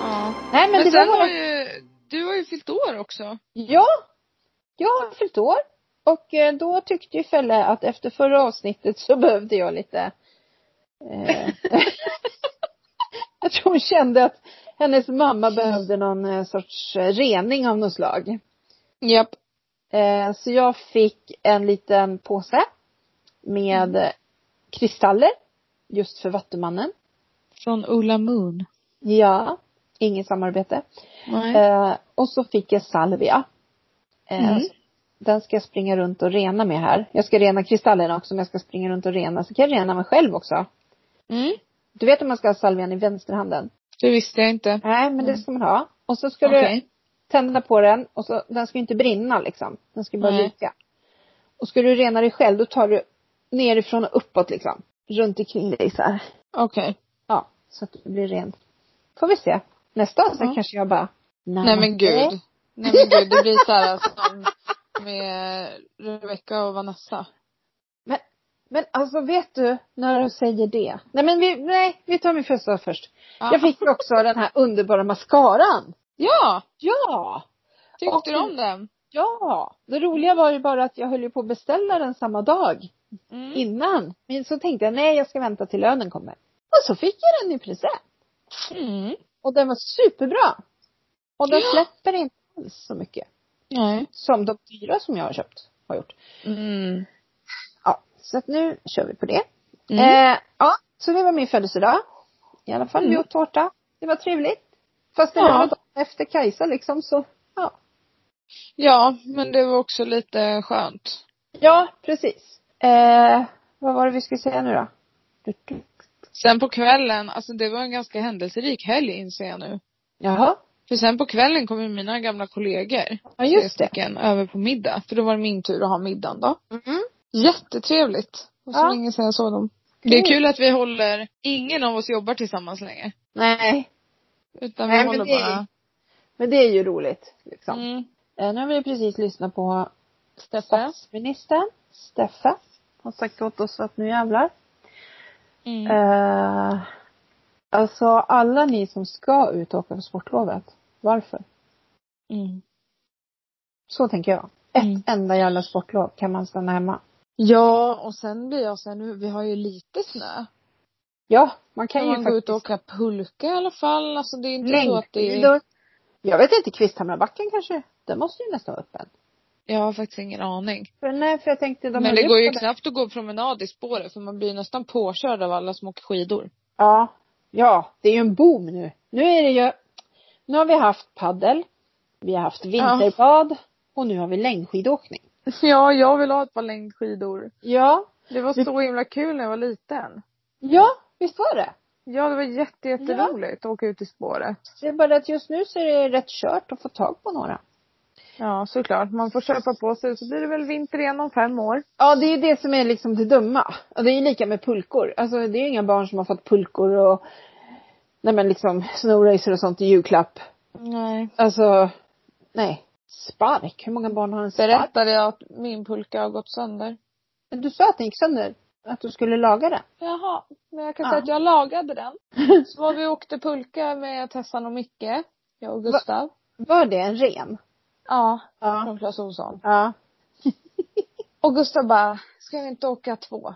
Speaker 2: Ja.
Speaker 1: Nej men,
Speaker 2: Men,
Speaker 1: det
Speaker 2: sen
Speaker 1: var
Speaker 2: har
Speaker 1: bara,
Speaker 2: ju, du har ju fyllt år också.
Speaker 1: ja. Jag har fyllt år. Och eh, då tyckte ju Felle att efter förra avsnittet så behövde jag lite eh, Jag tror hon kände att Hennes mamma behövde någon eh, sorts eh, rening av något slag.
Speaker 2: Japp.
Speaker 1: Eh, så jag fick en liten påse med eh, kristaller. Just för Vattumannen.
Speaker 2: Från Ola Moon.
Speaker 1: Ja. Inget samarbete.
Speaker 2: Nej.
Speaker 1: Eh, och så fick jag salvia. Eh,
Speaker 2: Mm.
Speaker 1: så Den ska jag springa runt och rena med här. Jag ska rena kristallerna också men jag ska springa runt och rena. Så kan jag rena mig själv också.
Speaker 2: Mm.
Speaker 1: Du vet att man ska ha salvian i vänsterhanden?
Speaker 2: Det visste jag inte.
Speaker 1: Nej men det ska man ha. Och så ska du
Speaker 2: Okej.
Speaker 1: tända på den och så, den ska ju inte brinna liksom. Den ska bara
Speaker 2: Nej.
Speaker 1: lysa. Och ska du rena dig själv då tar du nerifrån och uppåt liksom. Runt omkring dig så här.
Speaker 2: Okej.
Speaker 1: Ja, så att det blir rent. Får vi se. Nästa avsnitt
Speaker 2: Ja.
Speaker 1: kanske jag bara
Speaker 2: Nej men gud. Nej men gud, det blir så här som med Rebecca och Vanessa.
Speaker 1: Men, men alltså vet du när du säger det? Nej men vi, nej, vi tar min födelsedag först.
Speaker 2: Ja.
Speaker 1: Jag fick ju också den här underbara mascaran.
Speaker 2: Ja!
Speaker 1: Ja!
Speaker 2: Tyckte
Speaker 1: Och-
Speaker 2: du om den?
Speaker 1: Ja! Det roliga var ju bara att jag höll ju på att beställa den samma dag
Speaker 2: Mm.
Speaker 1: innan. Men så tänkte jag, nej jag ska vänta till lönen kommer. Och så fick jag den i present.
Speaker 2: Mm.
Speaker 1: Och den var superbra. Och den
Speaker 2: Ja.
Speaker 1: släpper inte alls så mycket.
Speaker 2: Nej.
Speaker 1: Som de dyra som jag har köpt har gjort.
Speaker 2: Mm.
Speaker 1: Ja, så att nu kör vi på det.
Speaker 2: Mm.
Speaker 1: Eh, ja, så det var min födelsedag. I alla fall, vi
Speaker 2: Mm.
Speaker 1: åt tårta. Det var trevligt. Fast det
Speaker 2: Ja.
Speaker 1: var dagen efter Kajsa liksom så, ja.
Speaker 2: Ja, men det var också lite skönt.
Speaker 1: Ja, precis. Eh, vad var det vi skulle säga nu då? Du, du.
Speaker 2: Sen på kvällen, alltså det var en ganska händelserik helg inser jag nu.
Speaker 1: Jaha.
Speaker 2: För sen på kvällen kom ju mina gamla kollegor.
Speaker 1: Ja, just
Speaker 2: tre
Speaker 1: det.
Speaker 2: stycken, över på middag. För då var det min tur att ha middagen då.
Speaker 1: Mm.
Speaker 2: Jättetrevligt. Det var så
Speaker 1: Ja.
Speaker 2: länge sedan jag såg dem. Det är
Speaker 1: Kul.
Speaker 2: kul att vi håller, ingen av oss jobbar tillsammans längre.
Speaker 1: Nej,
Speaker 2: Utan vi
Speaker 1: Nej, men
Speaker 2: håller
Speaker 1: det är
Speaker 2: bara.
Speaker 1: men det är ju roligt liksom.
Speaker 2: Mm.
Speaker 1: Eh, nu har vi precis lyssnat på
Speaker 2: Steffe.
Speaker 1: statsministern, Steffe. Har sagt åt oss att nu jävlar.
Speaker 2: Mm.
Speaker 1: Eh, alltså alla ni som ska ut och åka på sportlovet, varför? Eh,
Speaker 2: Mm.
Speaker 1: Så tänker jag. Ett
Speaker 2: Mm.
Speaker 1: enda jävla sportlov kan man stanna hemma.
Speaker 2: Ja, och sen blir jag så här, nu, vi har ju lite snö.
Speaker 1: Ja, man kan
Speaker 2: Kan
Speaker 1: ju
Speaker 2: man
Speaker 1: faktiskt.
Speaker 2: gå ut och åka pulka i alla fall? Alltså det är inte så att det är...
Speaker 1: längdskidor. Jag vet inte, Kvisthamrabacken kanske? Den måste ju nästan vara öppen.
Speaker 2: Jag har faktiskt ingen aning.
Speaker 1: För, nej, för jag tänkte de
Speaker 2: Men
Speaker 1: har
Speaker 2: det
Speaker 1: lyft
Speaker 2: går ju
Speaker 1: på den.
Speaker 2: knappt att gå promenad i spåret för man blir ju nästan påkörd av alla som åker skidor.
Speaker 1: Ja. Ja, det är ju en boom nu. Nu är det ju, nu har vi haft paddel, vi har haft vinterbad och nu har vi längdskidåkning.
Speaker 2: Ja, jag vill ha ett par längdskidor.
Speaker 1: Ja.
Speaker 2: Det var så himla kul när jag var liten.
Speaker 1: Ja, visst var det?
Speaker 2: Ja, det var jätte, jätteroligt att åka ut i spåret.
Speaker 1: Det är bara det att just nu så är det rätt kört att få tag på några.
Speaker 2: Ja, såklart. Man får köpa på sig så blir det väl vinter igen om fem år.
Speaker 1: Ja, det är ju det som är liksom det dumma. Och det är ju lika med pulkor. Alltså det är ju inga barn som har fått pulkor och nej men liksom snowracer och sånt i julklapp.
Speaker 2: Nej.
Speaker 1: Alltså, nej. Spark? Hur många barn har en spark?
Speaker 2: Berättade jag att min pulka har gått sönder?
Speaker 1: Men Du sa att den gick sönder. Att du skulle laga den.
Speaker 2: Jaha, men jag kan
Speaker 1: Ja.
Speaker 2: säga att jag lagade den. Så var vi och åkte pulka med Tessan och Micke. Jag och Gustav.
Speaker 1: Var det en ren?
Speaker 2: Ja,
Speaker 1: Ja.
Speaker 2: från Clas Ohlson.
Speaker 1: Ja.
Speaker 2: Och Gustav bara, ska vi inte åka två?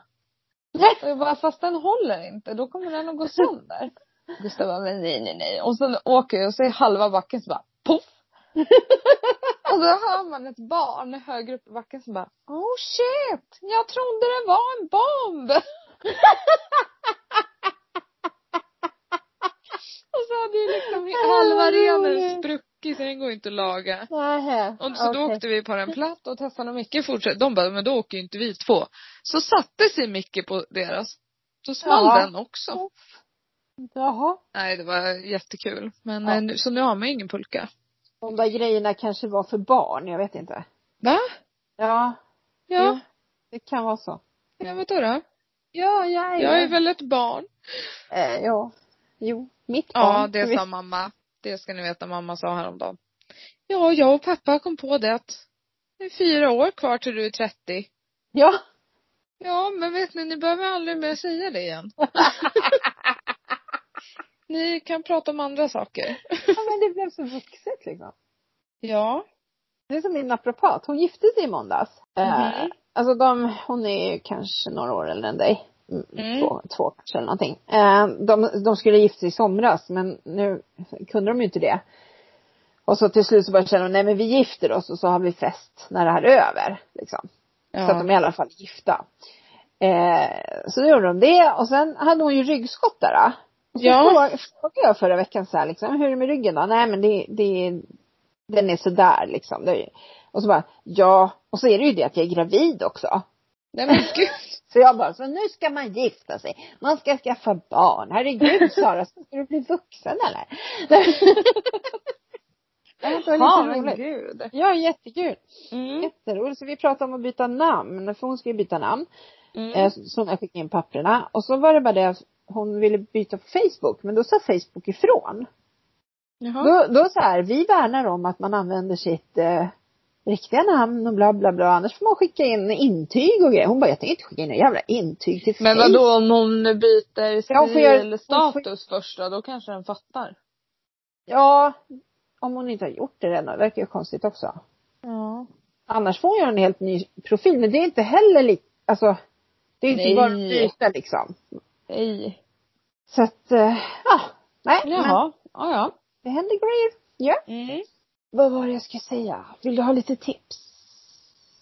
Speaker 1: Nej.
Speaker 2: Och jag bara, fast den håller inte, då kommer den att gå sönder. Gustav bara, men nej, nej, nej. Och sen åker jag och så är halva backen så bara, poff! och då hör man ett barn högre upp i backen som bara, oh shit, jag trodde det var en bomb! och så hade ju liksom halva renen spruckit så den går ju inte att laga.
Speaker 1: Nähä.
Speaker 2: Och så då
Speaker 1: Okej.
Speaker 2: åkte vi på den platt och Tessan och Micke fortsatte. De bara, men då åker ju inte vi två. Så satte sig Micke på deras. Då small
Speaker 1: Ja.
Speaker 2: den också.
Speaker 1: Jaha.
Speaker 2: Nej, det var jättekul. Men
Speaker 1: Ja.
Speaker 2: eh, nu, så nu har man ju ingen pulka.
Speaker 1: De där grejerna kanske var för barn, jag vet inte.
Speaker 2: Va?
Speaker 1: Ja.
Speaker 2: Ja.
Speaker 1: Jo, Det kan vara så.
Speaker 2: Ja, vadå då?
Speaker 1: Ja, jag
Speaker 2: Jag är väl ett barn.
Speaker 1: Eh, ja. Jo. Mitt barn.
Speaker 2: Ja, det sa mamma. Det ska ni veta mamma sa häromdagen. Ja, jag och pappa kom på det att det är fyra år kvar till du är 30.
Speaker 1: Ja.
Speaker 2: Ja, men vet ni, ni behöver aldrig mer säga det igen. ni kan prata om andra saker.
Speaker 1: ja, men det blev så vuxet liksom.
Speaker 2: Ja.
Speaker 1: Det är som min naprapat, hon gifte sig i måndags. Eh,
Speaker 2: Mhm.
Speaker 1: Alltså de, hon är ju kanske några år äldre än dig.
Speaker 2: Mm.
Speaker 1: två, två kanske eller någonting. Eh, de, de skulle gifta sig i somras men nu kunde de ju inte det. Och så till slut så bara kände de, nej men vi gifter oss och så har vi fest när det här är över. Liksom.
Speaker 2: Ja.
Speaker 1: Så att de är i alla fall gifta. Eh, så då gjorde de det och sen hade hon ju ryggskott där. Då. Och så
Speaker 2: Ja.
Speaker 1: frågade- frågade jag förra veckan så här liksom, hur är det med ryggen då? Nej men det, det den är sådär liksom. Det är, ju- och så bara, ja. Och så är det ju det att jag är gravid också.
Speaker 2: Nej men gud.
Speaker 1: Så jag bara, så nu ska man gifta sig. Man ska skaffa barn. Herregud Sara, ska du bli vuxen eller? det var lite roligt.
Speaker 2: gud.
Speaker 1: Ja, jättekul.
Speaker 2: Mm.
Speaker 1: Jätteroligt. Så vi pratade om att byta namn, för hon ska ju byta namn.
Speaker 2: Mm.
Speaker 1: Mm. Så när jag skickade in papperna. Och så var det bara det att hon ville byta på Facebook, men då sa Facebook ifrån.
Speaker 2: Jaha.
Speaker 1: Då, då så här, vi värnar om att man använder sitt eh, riktiga namn och bla bla bla. Annars får man skicka in intyg och grejer. Hon bara, jag tänker inte skicka in några jävla intyg till
Speaker 2: Men
Speaker 1: Facebook.
Speaker 2: vadå om hon byter stil
Speaker 1: Ja, hon får göra-
Speaker 2: eller
Speaker 1: hon får-
Speaker 2: status först då, då kanske den fattar.
Speaker 1: Ja, om hon inte har gjort det redan. Det verkar ju konstigt också.
Speaker 2: Ja.
Speaker 1: Annars får hon göra en helt ny profil. Men det är inte heller lika, alltså. Det är inte
Speaker 2: Nej.
Speaker 1: bara att byta liksom.
Speaker 2: Hej.
Speaker 1: Så att, eh, ja. Nej, men
Speaker 2: Jaha. Ja, ja.
Speaker 1: det händer grejer. Ja.
Speaker 2: Mm.
Speaker 1: Vad var det jag skulle säga? Vill du ha lite tips?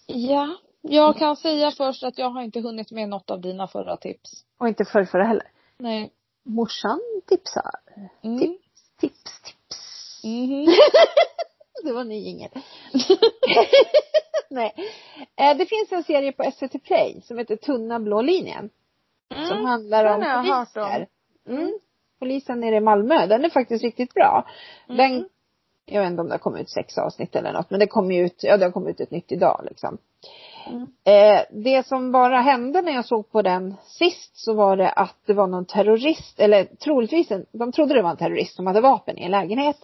Speaker 2: Ja. Jag kan säga först att jag har inte hunnit med något av dina förra tips.
Speaker 1: Och inte förr, förra heller.
Speaker 2: Nej.
Speaker 1: Morsan tipsar.
Speaker 2: Mm.
Speaker 1: Tips, tips, tips.
Speaker 2: Mhm.
Speaker 1: Det var en ny jingel. Nej. Eh, Det finns en serie på SVT Play som heter Tunna blå linjen. som
Speaker 2: Mm.
Speaker 1: handlar om
Speaker 2: den har jag hört
Speaker 1: poliser.
Speaker 2: Mm.
Speaker 1: Mm. Polisen nere i Malmö, den är faktiskt riktigt bra.
Speaker 2: Mm.
Speaker 1: Den, jag vet inte om det har kommit ut sex avsnitt eller något, men det kom ju ut, ja det har kommit ut ett nytt idag liksom.
Speaker 2: Mm.
Speaker 1: Eh, det som bara hände när jag såg på den sist så var det att det var någon terrorist, eller troligtvis, en, de trodde det var en terrorist som hade vapen i en lägenhet.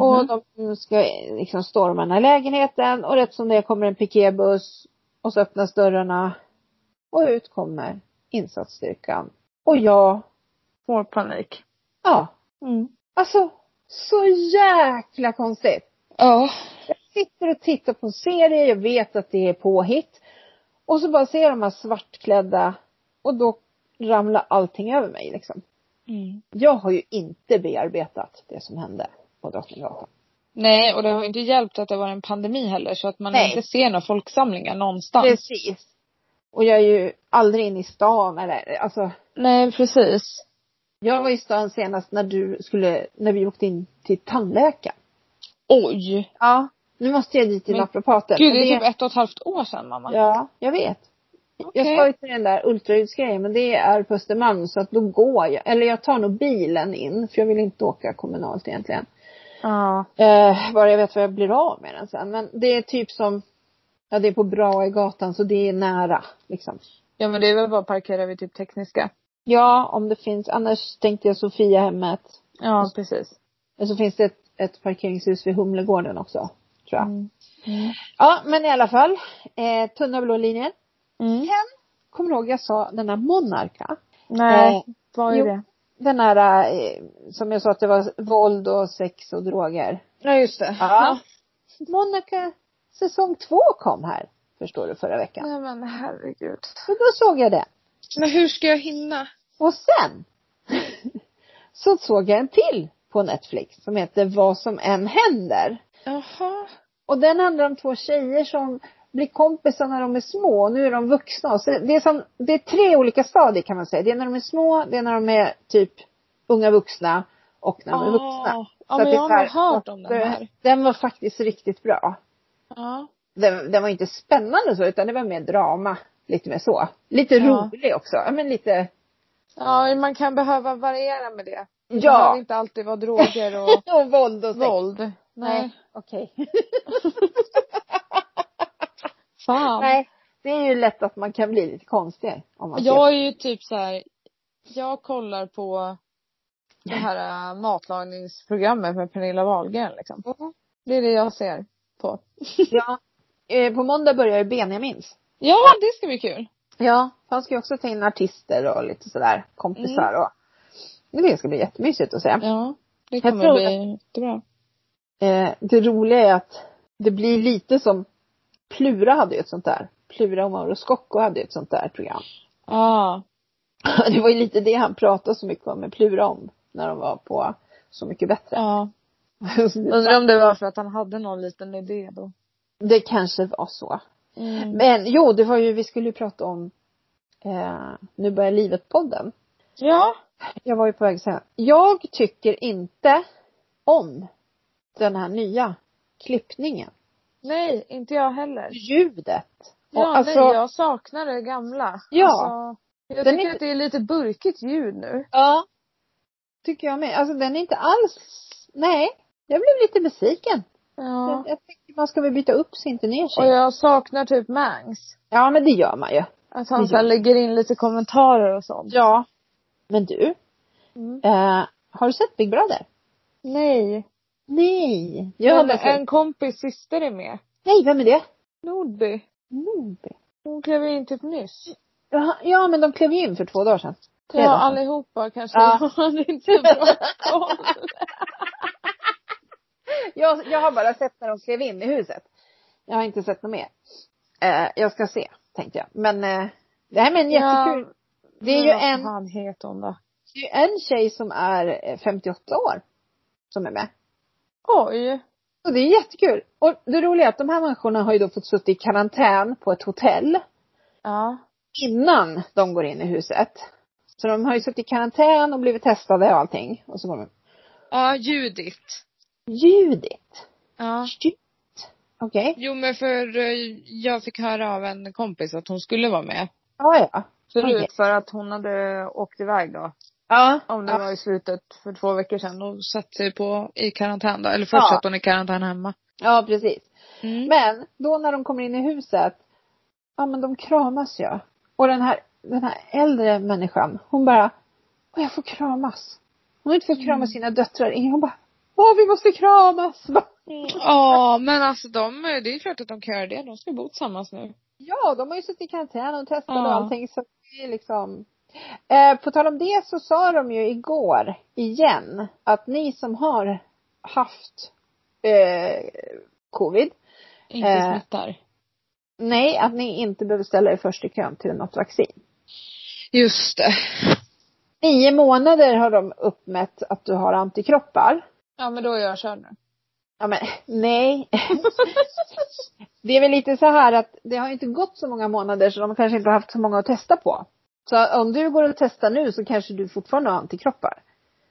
Speaker 1: Och de ska eh, liksom storma den här lägenheten och rätt som det är kommer en piketbuss och så öppnas dörrarna och ut kommer insatsstyrkan. Och jag,
Speaker 2: Får panik.
Speaker 1: ja,
Speaker 2: Mm.
Speaker 1: alltså så jäkla konstigt.
Speaker 2: Ja.
Speaker 1: Sitter och tittar på en serie, jag vet att det är påhitt. Och så bara ser jag de här svartklädda och då ramlar allting över mig liksom.
Speaker 2: Mm.
Speaker 1: Jag har ju inte bearbetat det som hände på Drottninggatan.
Speaker 2: Nej, och det har inte hjälpt att det var en pandemi heller så att man
Speaker 1: Nej.
Speaker 2: inte ser några folksamlingar någonstans.
Speaker 1: Precis. Och jag är ju aldrig inne i stan eller, alltså.
Speaker 2: Nej, precis.
Speaker 1: Jag var i stan senast när du skulle, när vi åkte in till tandläkaren.
Speaker 2: Oj.
Speaker 1: Ja. Nu måste jag dit till
Speaker 2: Men
Speaker 1: naprapaten.
Speaker 2: Gud,
Speaker 1: för
Speaker 2: det är typ ett och ett halvt år sedan mamma.
Speaker 1: Ja, jag vet. Jag
Speaker 2: Okej.
Speaker 1: ska ju till den där ultraljudsgrejen men det är på Östermalm så att då går jag, eller jag tar nog bilen in för jag vill inte åka kommunalt egentligen.
Speaker 2: Ja.
Speaker 1: Eh, bara jag vet vad jag blir av med den sen. Men det är typ som, ja det är på bra i gatan så det är nära liksom.
Speaker 2: Ja men det är väl bara att parkera vid typ tekniska.
Speaker 1: Ja, om det finns, annars tänkte jag Sofiahemmet.
Speaker 2: Ja precis.
Speaker 1: Och så finns det ett, ett parkeringshus vid Humlegården också. Tror
Speaker 2: Mm.
Speaker 1: jag. Ja, men i alla fall. Eh, tunna blå linjen.
Speaker 2: Mm.
Speaker 1: Kommer du ihåg jag sa den här Monarka?
Speaker 2: Nej,
Speaker 1: Eh,
Speaker 2: vad är
Speaker 1: jo.
Speaker 2: det?
Speaker 1: Den här, eh, som jag sa att det var våld och sex och droger.
Speaker 2: Ja just det.
Speaker 1: Ja. Monarka säsong två kom här. Förstår du förra veckan.
Speaker 2: Nej men herregud.
Speaker 1: Så då såg jag det.
Speaker 2: Men hur ska jag hinna?
Speaker 1: Och sen. så såg jag en till på Netflix som heter Vad som än händer.
Speaker 2: Jaha.
Speaker 1: Och den handlar om två tjejer som blir kompisar när de är små och nu är de vuxna. Så det, är som, det är tre olika stadier kan man säga. Det är när de är små, det är när de är typ unga vuxna och när de är vuxna.
Speaker 2: Ah. Ja
Speaker 1: Så
Speaker 2: men
Speaker 1: att det
Speaker 2: jag
Speaker 1: är så
Speaker 2: har
Speaker 1: här-
Speaker 2: nog hört om den här.
Speaker 1: Den var faktiskt riktigt bra.
Speaker 2: Ja.
Speaker 1: Den, den var inte spännande så utan det var mer drama. Lite mer så. Lite
Speaker 2: Ja.
Speaker 1: rolig också. Ja men lite,
Speaker 2: Ja man kan behöva variera med det. Det behöver
Speaker 1: ja.
Speaker 2: inte alltid vara droger och
Speaker 1: Och våld och sex.
Speaker 2: våld.
Speaker 1: Nej, okej.
Speaker 2: Fan.
Speaker 1: Nej. Det är ju lätt att man kan bli lite konstig. Om man ser
Speaker 2: Jag är ju typ så här. Jag kollar på det här äh, matlagningsprogrammet med Pernilla Wahlgren liksom.
Speaker 1: Mhm.
Speaker 2: Det är det jag ser på.
Speaker 1: Ja. Eh, På måndag börjar ju Benjamins.
Speaker 2: Ja, det ska bli kul.
Speaker 1: Ja. För han ska ju också ta in artister och lite sådär kompisar och men det ska bli jättemysigt att se.
Speaker 2: Ja, det
Speaker 1: Jag
Speaker 2: kommer
Speaker 1: tror
Speaker 2: bli jättebra.
Speaker 1: Eh, det roliga är att det blir lite som Plura hade ju ett sånt där. Plura och Mauro Scocco hade ju ett sånt där program.
Speaker 2: Ja.
Speaker 1: Det var ju lite det han pratade så mycket om med Plura om. När de var på Så mycket bättre.
Speaker 2: Ja. Undrar om det var för att han hade någon liten idé då.
Speaker 1: Det kanske var så.
Speaker 2: Mm.
Speaker 1: Men jo, det var ju, vi skulle ju prata om eh, Nu börjar livet-podden.
Speaker 2: Ja.
Speaker 1: Jag var ju på väg att säga. Jag tycker inte om den här nya klippningen.
Speaker 2: Nej, inte jag heller.
Speaker 1: Ljudet.
Speaker 2: Ja,
Speaker 1: Och alltså-
Speaker 2: nej, jag saknar det gamla.
Speaker 1: Ja.
Speaker 2: Alltså, jag
Speaker 1: Den är
Speaker 2: tycker
Speaker 1: inte-
Speaker 2: att det är lite burkigt ljud nu.
Speaker 1: Ja. Tycker jag med. Alltså den är inte alls, nej. Jag blev lite besviken.
Speaker 2: Ja.
Speaker 1: Jag, jag tänkte man ska väl byta upp sig, inte ner sig.
Speaker 2: Och jag saknar typ Mangs.
Speaker 1: Ja men det gör man ju.
Speaker 2: Att
Speaker 1: Det
Speaker 2: han så
Speaker 1: gör-
Speaker 2: här lägger in lite kommentarer och sånt.
Speaker 1: Ja. Men du.
Speaker 2: Mm.
Speaker 1: Eh, har du sett Big Brother?
Speaker 2: Nej.
Speaker 1: Nej. Jag
Speaker 2: Men
Speaker 1: hade en...
Speaker 2: en kompis syster är med.
Speaker 1: Nej, vem är det?
Speaker 2: Nordby.
Speaker 1: Nordby.
Speaker 2: Hon klev in typ nyss.
Speaker 1: Jaha, Ja men de klev ju in för två dagar sedan. Tre
Speaker 2: Ja,
Speaker 1: dagar sedan.
Speaker 2: allihopa kanske.
Speaker 1: Ja.
Speaker 2: Jag hade inte bra koll.
Speaker 1: Jag, jag har bara sett när de klev in i huset. Jag har inte sett något mer. Eh, jag ska se, tänkte jag. Men eh, det här med en jättekul. det är ju
Speaker 2: men vad
Speaker 1: en,
Speaker 2: fan heter hon då?
Speaker 1: det är ju en tjej som är eh, 58 år som är med.
Speaker 2: Oj.
Speaker 1: Och det är jättekul. Och det roliga är att de här människorna har ju då fått sitta i karantän på ett hotell
Speaker 2: Ja.
Speaker 1: innan de går in i huset. Så de har ju suttit i karantän och blivit testade och allting. Och så går de.
Speaker 2: Ja, Judith.
Speaker 1: Judit.
Speaker 2: Ja.
Speaker 1: Shit. Okej.
Speaker 2: Jo men för eh, jag fick höra av en kompis att hon skulle vara med.
Speaker 1: Ja, ja.
Speaker 2: Förut
Speaker 1: Okej.
Speaker 2: för att hon hade åkt iväg då.
Speaker 1: Ja.
Speaker 2: Om det
Speaker 1: ja.
Speaker 2: var i slutet för två veckor sedan och satt sig på i karantän då. Eller först
Speaker 1: Ja.
Speaker 2: satt hon i karantän hemma.
Speaker 1: ja, precis.
Speaker 2: Mm.
Speaker 1: Men då när de kommer in i huset, ja men de kramas ju. Och den här, den här äldre människan, hon bara, Åh, jag får kramas. Hon har inte fått krama sina döttrar. Ingen- Hon bara, åh vi måste kramas.
Speaker 2: Ja men alltså de, det är klart att de kan göra det. De ska bo tillsammans nu.
Speaker 1: Ja, de har ju suttit i karantän och testat
Speaker 2: Ja.
Speaker 1: och allting så det är liksom. Eh, på tal om det så sa de ju igår igen att ni som har haft eh, covid,
Speaker 2: Inte
Speaker 1: Eh.
Speaker 2: smittar.
Speaker 1: nej att ni inte behöver ställa er först i kön till något vaccin.
Speaker 2: Just det.
Speaker 1: Nio månader har de uppmätt att du har antikroppar.
Speaker 2: Ja men då är jag körd nu.
Speaker 1: Ja men nej. det är väl lite så här att det har inte gått så många månader så de kanske inte har haft så många att testa på. Så om du går och testar nu så kanske du fortfarande har antikroppar.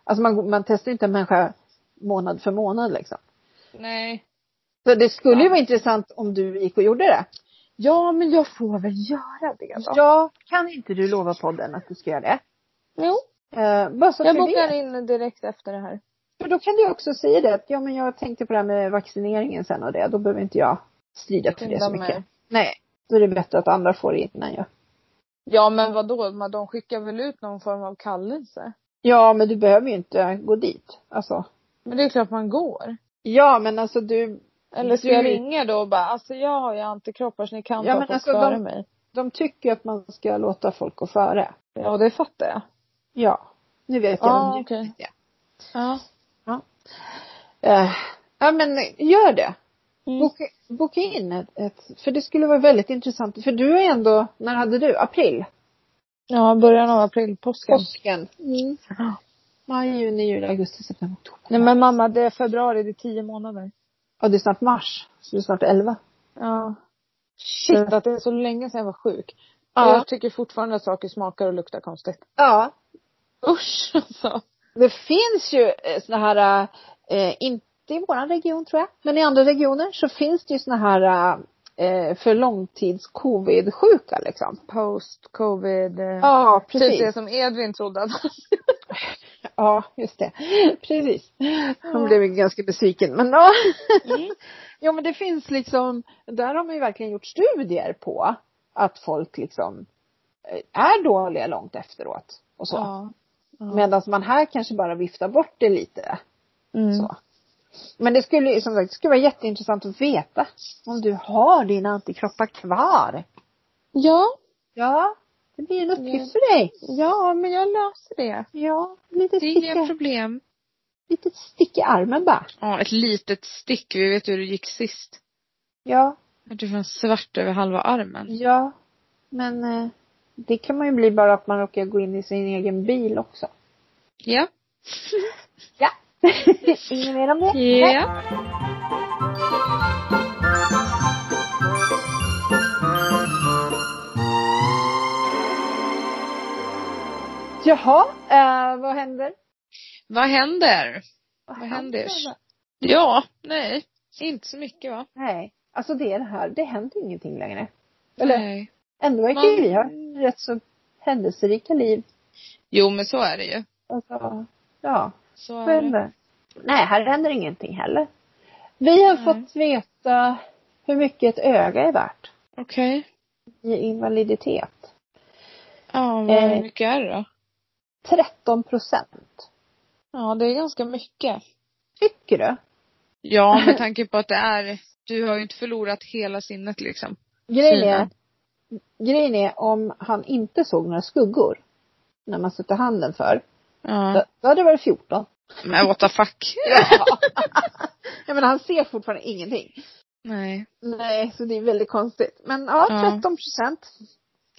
Speaker 1: Alltså man, man testar ju inte en människa månad för månad liksom.
Speaker 2: Nej.
Speaker 1: Så det skulle ju
Speaker 2: Ja.
Speaker 1: vara intressant om du gick och gjorde det.
Speaker 2: Ja men jag får väl göra det då.
Speaker 1: Ja, kan inte du lova podden att du ska göra det?
Speaker 2: Jo.
Speaker 1: Eh, bara så att
Speaker 2: Jag
Speaker 1: vi
Speaker 2: bokar
Speaker 1: vet.
Speaker 2: in direkt efter det här.
Speaker 1: För då kan du också säga det att ja men jag tänkte på det här med vaccineringen sen och det. Då behöver inte jag strida för det så
Speaker 2: Skynda mig.
Speaker 1: mycket. Nej. Då är det bättre att andra får det innan jag.
Speaker 2: Ja men vadå, men de skickar väl ut någon form av kallelse?
Speaker 1: Ja men du behöver ju inte gå dit. Alltså.
Speaker 2: Men det är klart man går.
Speaker 1: Ja men alltså du.
Speaker 2: Eller ska
Speaker 1: Du-
Speaker 2: jag ringa då och bara, alltså jag har ju antikroppar så ni kan
Speaker 1: Ja,
Speaker 2: ta
Speaker 1: men
Speaker 2: folk
Speaker 1: alltså,
Speaker 2: före
Speaker 1: de-
Speaker 2: mig.
Speaker 1: De tycker ju att man ska låta folk gå före.
Speaker 2: Ja det fattar jag.
Speaker 1: Ja. Nu vet jag
Speaker 2: Ja,
Speaker 1: vem du
Speaker 2: okej.
Speaker 1: är.
Speaker 2: Ja.
Speaker 1: Eh, Ja men gör det.
Speaker 2: Mm.
Speaker 1: Boka, boka in ett, ett. För det skulle vara väldigt intressant. För du är ändå, när hade du? April?
Speaker 2: Ja, början av april, påsken.
Speaker 1: Påsken. Mm.
Speaker 2: Ja.
Speaker 1: Maj, juni, juli, augusti, september, oktober.
Speaker 2: Nej men mamma, det är februari, det är tio månader.
Speaker 1: Ja, det är snart mars. Så det är snart elva.
Speaker 2: Ja. Shit att det är så länge sedan jag var sjuk.
Speaker 1: Ja.
Speaker 2: Jag tycker fortfarande att saker smakar och luktar konstigt.
Speaker 1: Ja.
Speaker 2: Usch alltså.
Speaker 1: Det finns ju eh, såna här, eh, inte i vår region tror jag, men i andra regioner så finns det ju såna här eh, för långtids-covid-sjuka liksom.
Speaker 2: Post covid. Ja,
Speaker 1: Ja,
Speaker 2: precis. Typ det
Speaker 1: precis.
Speaker 2: som Edvin trodde att
Speaker 1: Ja, just det. Precis. Han blev ju ganska besviken, men ja.
Speaker 2: Mm.
Speaker 1: Jo, men det finns liksom, där har man ju verkligen gjort studier på att folk liksom eh, är dåliga långt efteråt och så.
Speaker 2: Ja. Ja.
Speaker 1: Medan man här kanske bara viftar bort det lite.
Speaker 2: Mm.
Speaker 1: Så. Men det skulle ju som sagt, det skulle vara jätteintressant att veta om du har dina antikroppar kvar.
Speaker 2: Ja,
Speaker 1: Ja, det blir en
Speaker 2: Mm.
Speaker 1: uppgift för dig.
Speaker 2: ja men jag löser det.
Speaker 1: Ja, lite
Speaker 2: Det är inga
Speaker 1: stick,
Speaker 2: problem.
Speaker 1: lite stick i armen bara.
Speaker 2: Ja, ett litet stick. Vi vet hur det gick sist.
Speaker 1: Ja,
Speaker 2: Jag tror det var svart över halva armen.
Speaker 1: ja. Men eh, Det kan man ju bli bara att man råkar gå in i sin egen bil också.
Speaker 2: Ja.
Speaker 1: Ja. Inget mer om det? Nej.
Speaker 2: Ja.
Speaker 1: Jaha, eh, vad händer?
Speaker 2: Vad händer? Vad händer? Ja, nej. Inte så mycket va?
Speaker 1: Nej. Alltså det är det här, det händer ingenting längre. Eller?
Speaker 2: Nej.
Speaker 1: Ändå verkar
Speaker 2: Man-
Speaker 1: ju vi ha rätt så händelserika liv.
Speaker 2: Jo men så är det ju.
Speaker 1: Alltså, ja.
Speaker 2: Så
Speaker 1: Vad
Speaker 2: är det.
Speaker 1: händer? Nej, här händer ingenting heller. Vi har
Speaker 2: Nej.
Speaker 1: fått veta hur mycket ett öga är värt
Speaker 2: Okej.
Speaker 1: i invaliditet.
Speaker 2: Ja, men
Speaker 1: Eh.
Speaker 2: hur mycket är det då?
Speaker 1: 13 procent.
Speaker 2: Ja, det är ganska mycket.
Speaker 1: Tycker du?
Speaker 2: Ja, med tanke på att det är, du har ju inte förlorat hela sinnet liksom.
Speaker 1: Grejen är,
Speaker 2: Synen.
Speaker 1: grejen är om han inte såg några skuggor när man satte handen för,
Speaker 2: Ja.
Speaker 1: då, då hade det varit 14.
Speaker 2: Men what the fuck.
Speaker 1: Ja. Jag menar han ser fortfarande ingenting.
Speaker 2: Nej.
Speaker 1: Nej, så det är väldigt konstigt. Men ja,
Speaker 2: Ja.
Speaker 1: 13 procent.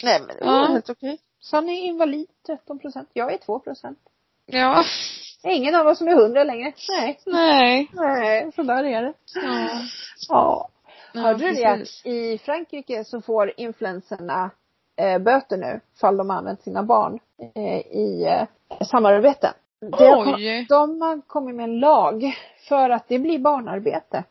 Speaker 1: Nej men det var
Speaker 2: Ja.
Speaker 1: helt okej. Så han är invalid 13 procent. Jag är 2 procent.
Speaker 2: Ja.
Speaker 1: Det är ingen av oss som är 100 längre. Nej.
Speaker 2: Nej.
Speaker 1: Nej, så där är det.
Speaker 2: Ja.
Speaker 1: Ja.
Speaker 2: Ja,
Speaker 1: Hörde du det
Speaker 2: precis.
Speaker 1: att i Frankrike så får influenserna eh, böter nu, fall de använt sina barn eh, i eh, samarbeten. Det har kom-
Speaker 2: Oj.
Speaker 1: De har kommit med en lag för att det blir barnarbete.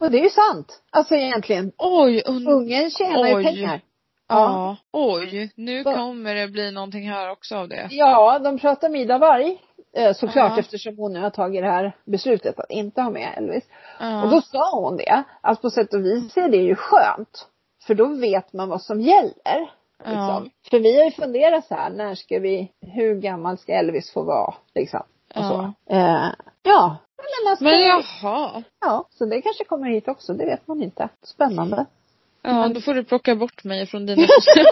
Speaker 1: Och det är ju sant. Alltså egentligen.
Speaker 2: Oj, und-
Speaker 1: Ungen tjänar ju
Speaker 2: Oj.
Speaker 1: pengar.
Speaker 2: ja. Oj, nu
Speaker 1: Så-
Speaker 2: kommer det bli någonting här också av det.
Speaker 1: Ja, de pratar Mida Varg. eh, Såklart
Speaker 2: Ja.
Speaker 1: eftersom hon nu har tagit det här beslutet att inte ha med Elvis.
Speaker 2: Ja.
Speaker 1: Och då sa hon det, att på sätt och vis är det ju skönt. För då vet man vad som gäller. Liksom. För vi har ju funderat så här, när ska vi, hur gammal ska Elvis få vara? Liksom. Och så. Eh, ja. Men, alltså,
Speaker 2: Men jaha.
Speaker 1: ja, så det kanske kommer hit också, det vet man inte. Spännande.
Speaker 2: Ja, då får du plocka bort mig från dina sociala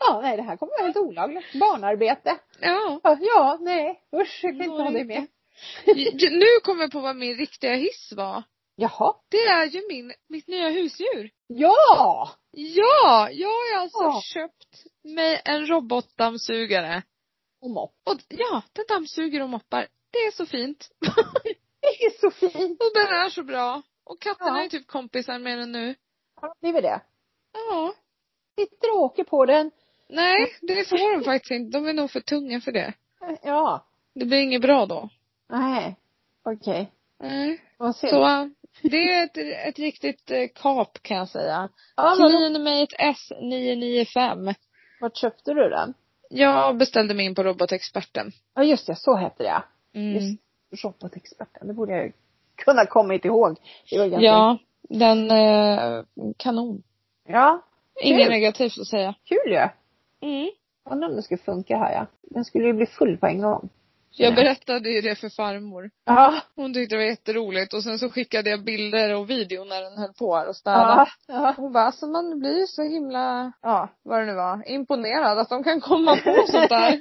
Speaker 1: Ja, nej det här kommer vara helt olagligt. Barnarbete.
Speaker 2: Ja.
Speaker 1: Ja, Ja, nej. Usch, jag kan inte ha det med.
Speaker 2: J- Nu kommer jag på vad min riktiga hiss var.
Speaker 1: Jaha.
Speaker 2: Det är ju min, mitt nya husdjur.
Speaker 1: Ja!
Speaker 2: Ja! Jag har alltså
Speaker 1: Ja.
Speaker 2: köpt mig en robotdammsugare.
Speaker 1: Och mopp.
Speaker 2: Och d- ja, den dammsuger och moppar. Det är så fint.
Speaker 1: Det är så fint.
Speaker 2: Och den är så bra. Och katterna
Speaker 1: Ja.
Speaker 2: är typ kompisar med den nu.
Speaker 1: Har de blivit det?
Speaker 2: Ja.
Speaker 1: Sitter och åker på den.
Speaker 2: Nej, det får de faktiskt inte. De är nog för tunga för det.
Speaker 1: Ja.
Speaker 2: Det blir inget bra då.
Speaker 1: Nej. Okej.
Speaker 2: Nej.
Speaker 1: Vad synd.
Speaker 2: Så äh, det är ett, ett riktigt eh, kap kan jag säga.
Speaker 1: Ja, men,
Speaker 2: Cleanmate S995.
Speaker 1: vart köpte du den?
Speaker 2: Jag beställde mig in på robotexperten.
Speaker 1: Ja just det, så hette det ja.
Speaker 2: Mm.
Speaker 1: Just Robotexperten, det borde jag ju kunna kommit ihåg. Det var ganska...
Speaker 2: Ja, den eh, kanon.
Speaker 1: ja.
Speaker 2: Inget
Speaker 1: Kul.
Speaker 2: negativt att säga.
Speaker 1: Kul ju.
Speaker 2: Mm.
Speaker 1: Undrar om det skulle funka här ja. Den skulle ju bli full på en gång.
Speaker 2: Jag
Speaker 1: Ja.
Speaker 2: berättade ju det för farmor.
Speaker 1: Ja.
Speaker 2: Hon tyckte det var jätteroligt och sen så skickade jag bilder och video när den höll på här och städade.
Speaker 1: Ja. Ja.
Speaker 2: Hon bara, alltså man blir ju så himla,
Speaker 1: ja.
Speaker 2: vad det nu var, imponerad att de kan komma på sånt där.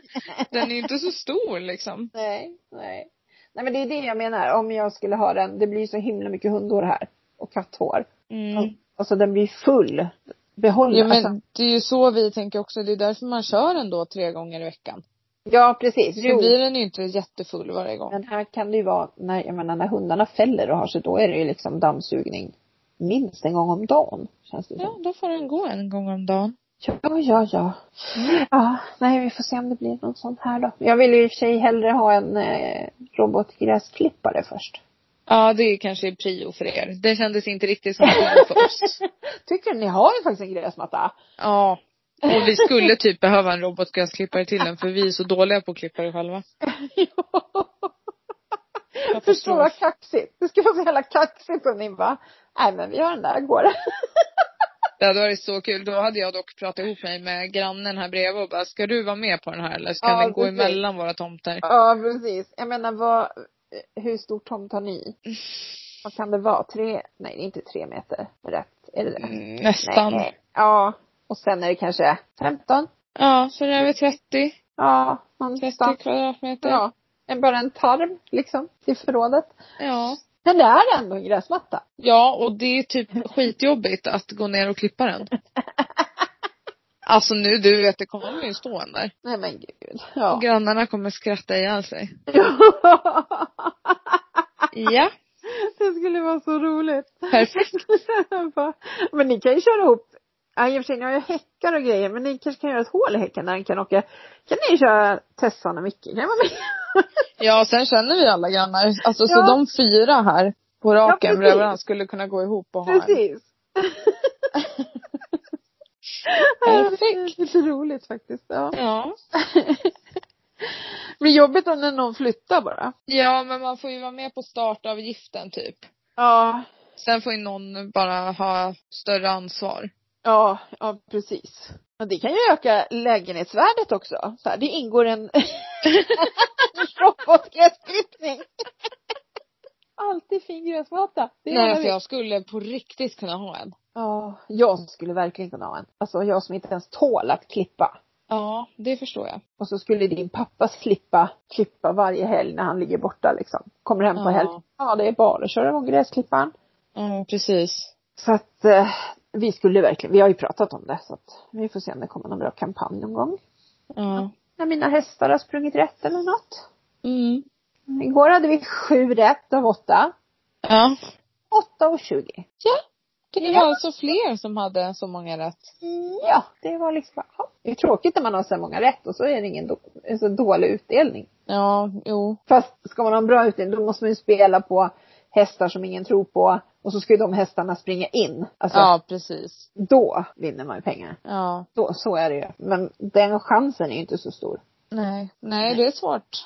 Speaker 2: Den är ju inte så stor liksom.
Speaker 1: Nej, nej. Nej men det är det jag menar, om jag skulle ha den, det blir ju så himla mycket hundhår här. Och katthår.
Speaker 2: Mm.
Speaker 1: Alltså den blir full. Behåll
Speaker 2: Jo
Speaker 1: alltså,
Speaker 2: men det är ju så vi tänker också, det är därför man kör den då tre gånger i veckan.
Speaker 1: Ja precis.
Speaker 2: Så
Speaker 1: Jo.
Speaker 2: blir den ju inte jättefull varje gång.
Speaker 1: Men här kan det ju vara, när, jag menar när hundarna fäller och har sig, då är det ju liksom dammsugning minst en gång om dagen. Känns det som.
Speaker 2: Ja, då får den gå en gång om dagen.
Speaker 1: Ja, ja, ja. Ja, nej vi får se om det blir någon sån här då. Jag vill ju i och för sig hellre ha en eh, robotgräsklippare först.
Speaker 2: Ja, det är kanske är prio för er. Det kändes inte riktigt som prio för oss.
Speaker 1: Tycker du, ni har ju faktiskt en gräsmatta.
Speaker 2: Ja. Och vi skulle typ behöva en robotgräsklippare till den för vi är så dåliga på att klippa det själva.
Speaker 1: Jag förstår vad kaxigt. Det skulle vara så jävla kaxigt om ni bara, nej men vi har den där, går det?
Speaker 2: Det hade varit så kul. Då hade jag dock pratat ihop mig med grannen här bredvid och bara, ska du vara med på den här eller ska
Speaker 1: Ja,
Speaker 2: den gå
Speaker 1: precis.
Speaker 2: emellan våra tomter?
Speaker 1: Ja, precis. Jag menar vad, hur stor tomt har ni? Vad kan det vara? Tre, nej det är inte tre meter rätt. Är det det?
Speaker 2: Mm, nästan.
Speaker 1: Nej. Ja. Och sen är det kanske 15?
Speaker 2: Ja, så det är väl 30,
Speaker 1: Ja,
Speaker 2: 30
Speaker 1: någonstans.
Speaker 2: kvadratmeter. Ja.
Speaker 1: Ja. En- Bara en tarm liksom till förrådet.
Speaker 2: ja.
Speaker 1: Men det är ändå en gräsmatta.
Speaker 2: Ja, och det är typ skitjobbigt att gå ner och klippa den. Alltså nu du vet, det kommer ju stå en där.
Speaker 1: Nej men gud.
Speaker 2: Och
Speaker 1: Ja.
Speaker 2: grannarna kommer skratta ihjäl sig. Ja,
Speaker 1: det skulle vara så roligt.
Speaker 2: perfekt.
Speaker 1: men ni kan ju köra ihop. Ja, i och för sig, ni har ju häckar och grejer, men ni kanske kan göra ett hål i häcken där han kan åka. Kan ni köra Tessan och Micke? Kan jag vara med?
Speaker 2: Ja, sen känner vi alla grannar. Alltså så
Speaker 1: Ja.
Speaker 2: de fyra här på raken
Speaker 1: precis.
Speaker 2: bredvid varandra skulle kunna gå ihop och ha en.
Speaker 1: Precis.
Speaker 2: Perfekt.
Speaker 1: Det är lite roligt faktiskt. Ja.
Speaker 2: Ja.
Speaker 1: Blir jobbigt om när någon flyttar bara.
Speaker 2: Ja, men man får ju vara med på startavgiften typ.
Speaker 1: Ja.
Speaker 2: Sen får ju någon bara ha större ansvar.
Speaker 1: Ja, ja precis. Men det kan ju öka lägenhetsvärdet också. Så här, det ingår en robotgräsklippning. Alltid fin gräsmatta. Det
Speaker 2: Nej,
Speaker 1: gillar
Speaker 2: alltså
Speaker 1: vi.
Speaker 2: jag skulle på riktigt kunna ha en.
Speaker 1: Ja, jag skulle verkligen kunna ha en. Alltså jag som inte ens tål att klippa.
Speaker 2: Ja, det förstår jag.
Speaker 1: Och så skulle din pappa slippa klippa varje helg när han ligger borta liksom. Kommer hem på
Speaker 2: Ja.
Speaker 1: helg. Ja, det är bara att köra igång gräsklipparen.
Speaker 2: Ja, precis.
Speaker 1: Så att eh, vi skulle verkligen, vi har ju pratat om det så att vi får se om det kommer någon bra kampanj någon gång.
Speaker 2: Ja.
Speaker 1: När mina hästar har sprungit rätt eller något.
Speaker 2: Mm.
Speaker 1: Igår hade vi sju rätt av åtta.
Speaker 2: Ja.
Speaker 1: Åtta och tjugo.
Speaker 2: Ja. Det var
Speaker 1: Ja.
Speaker 2: alltså fler som hade så många rätt.
Speaker 1: Ja, det var liksom bara, ja. Det är tråkigt när man har så här många rätt och så är det ingen då, en så dålig utdelning.
Speaker 2: Ja, jo.
Speaker 1: Fast ska man ha en bra utdelning då måste man ju spela på hästar som ingen tror på och så ska ju de hästarna springa in. Alltså
Speaker 2: Ja, precis.
Speaker 1: då vinner man ju pengar.
Speaker 2: Ja.
Speaker 1: Då, så är det ju. Men den chansen är ju inte så stor.
Speaker 2: Nej. Nej, det är svårt.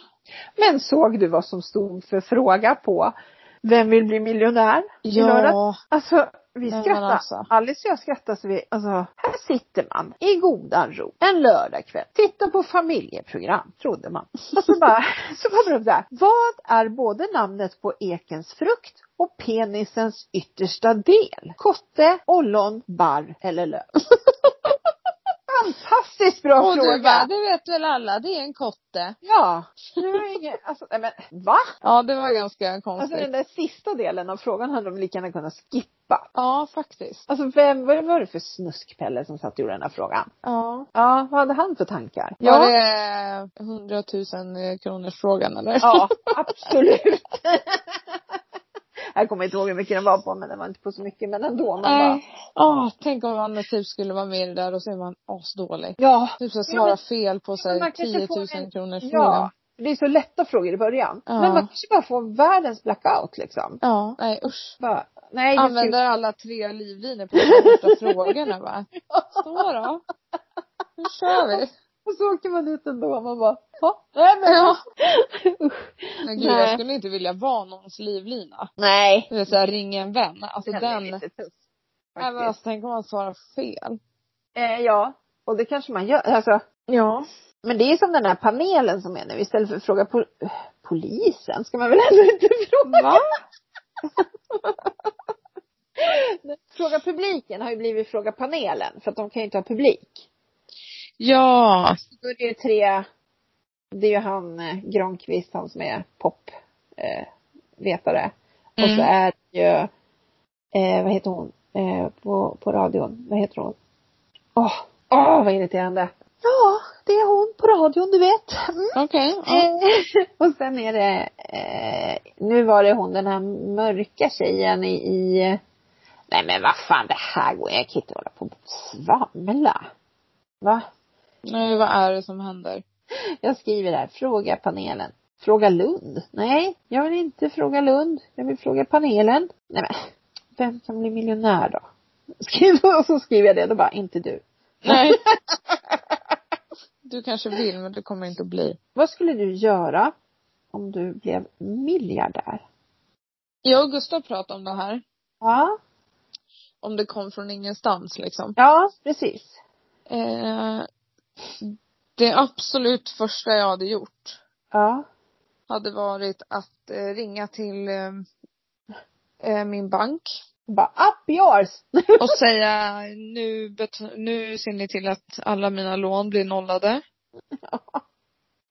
Speaker 1: Men såg du vad som stod för fråga på Vem vill bli miljonär? i lördags?
Speaker 2: Ja.
Speaker 1: Alltså vi
Speaker 2: Nej, men
Speaker 1: skrattade.
Speaker 2: alltså.
Speaker 1: Alice och jag skrattade så vi, alltså här sitter man i godan ro en lördagkväll. Tittar på familjeprogram, trodde man. Och så bara, så kommer de där. Vad är både namnet på ekens frukt och penisens yttersta del? Kotte, ollon, barr eller löv? Fantastiskt bra
Speaker 2: Och
Speaker 1: fråga!
Speaker 2: du bara, det vet väl alla, det är en kotte.
Speaker 1: Ja, nu är det ingen, alltså nej men va?
Speaker 2: Ja, det var ganska
Speaker 1: Alltså
Speaker 2: konstigt.
Speaker 1: den där sista delen av frågan hade de lika gärna kunnat skippa.
Speaker 2: Ja, faktiskt.
Speaker 1: Alltså vem, vad var det för snuskpelle som satt och gjorde den här frågan?
Speaker 2: Ja.
Speaker 1: Ja, vad hade han för tankar?
Speaker 2: Var det 100 000 kronors frågan eller?
Speaker 1: ja absolut. jag kommer inte ihåg hur mycket den var på men den var inte på så mycket men ändå. Man bara,
Speaker 2: Nej. Ja, tänk om man typ skulle vara med i det där och så är man asdålig.
Speaker 1: ja,
Speaker 2: Typ så
Speaker 1: Ja, men-
Speaker 2: svara fel på så här,
Speaker 1: man
Speaker 2: 10
Speaker 1: kanske får
Speaker 2: 000
Speaker 1: en-
Speaker 2: kronors
Speaker 1: ja.
Speaker 2: frågan.
Speaker 1: Det är så lätta frågor i början.
Speaker 2: Ja.
Speaker 1: Men man kanske bara får världens blackout liksom.
Speaker 2: Ja, nej usch.
Speaker 1: Bara, nej, jag ska-
Speaker 2: Använder alla tre livlinor på de första frågorna va? Så då. Nu kör vi.
Speaker 1: Och så åker man ut ändå och man bara, "Ha? nej men ja.
Speaker 2: Men gud, jag
Speaker 1: Nej.
Speaker 2: skulle inte vilja vara någons livlina.
Speaker 1: Nej.
Speaker 2: Det är så här, ring en vän. Alltså
Speaker 1: Den,
Speaker 2: den.
Speaker 1: är lite tuff.
Speaker 2: Nej men
Speaker 1: faktiskt.
Speaker 2: alltså tänk om man svarar fel.
Speaker 1: Eh, ja, och det kanske man gör. Alltså,
Speaker 2: Ja.
Speaker 1: men det är som den här panelen som är nu. Istället för att fråga pol- eh, polisen ska man väl ändå inte fråga.
Speaker 2: Va?
Speaker 1: Fråga publiken har ju blivit fråga panelen för att de kan ju inte ha publik.
Speaker 2: Ja.
Speaker 1: Då är det ju tre, det är ju han eh, Granqvist, han som är popvetare. Eh, vetare. Och så
Speaker 2: Mm.
Speaker 1: är det ju, eh, vad heter hon eh, på, på radion? Vad heter hon? Åh, åh vad irriterande. Ja, det är hon på radion du vet. Mm.
Speaker 2: Okej. ja.
Speaker 1: Eh, och sen är det, eh, nu var det hon den här mörka tjejen i, i nej men vad fan det här går, jag kan inte hålla på och svamla. Va?
Speaker 2: Nej vad är det som händer?
Speaker 1: Jag skriver här, fråga panelen. Fråga Lund. Nej, jag vill inte fråga Lund. Jag vill fråga panelen. Nej men, vem kan bli miljonär då? Skriver, och så skriver jag det, då bara, inte du.
Speaker 2: Nej. Du kanske vill men du kommer inte att bli.
Speaker 1: Vad skulle du göra om du blev miljardär?
Speaker 2: Jag och Gustav pratade om det här.
Speaker 1: Ja,
Speaker 2: Om det kom från ingenstans liksom.
Speaker 1: ja precis.
Speaker 2: Eh, det absolut första jag hade gjort
Speaker 1: Ja.
Speaker 2: hade varit att eh, ringa till eh, eh, min bank
Speaker 1: Bara up yours!
Speaker 2: och säga nu, bet- nu ser ni till att alla mina lån blir nollade.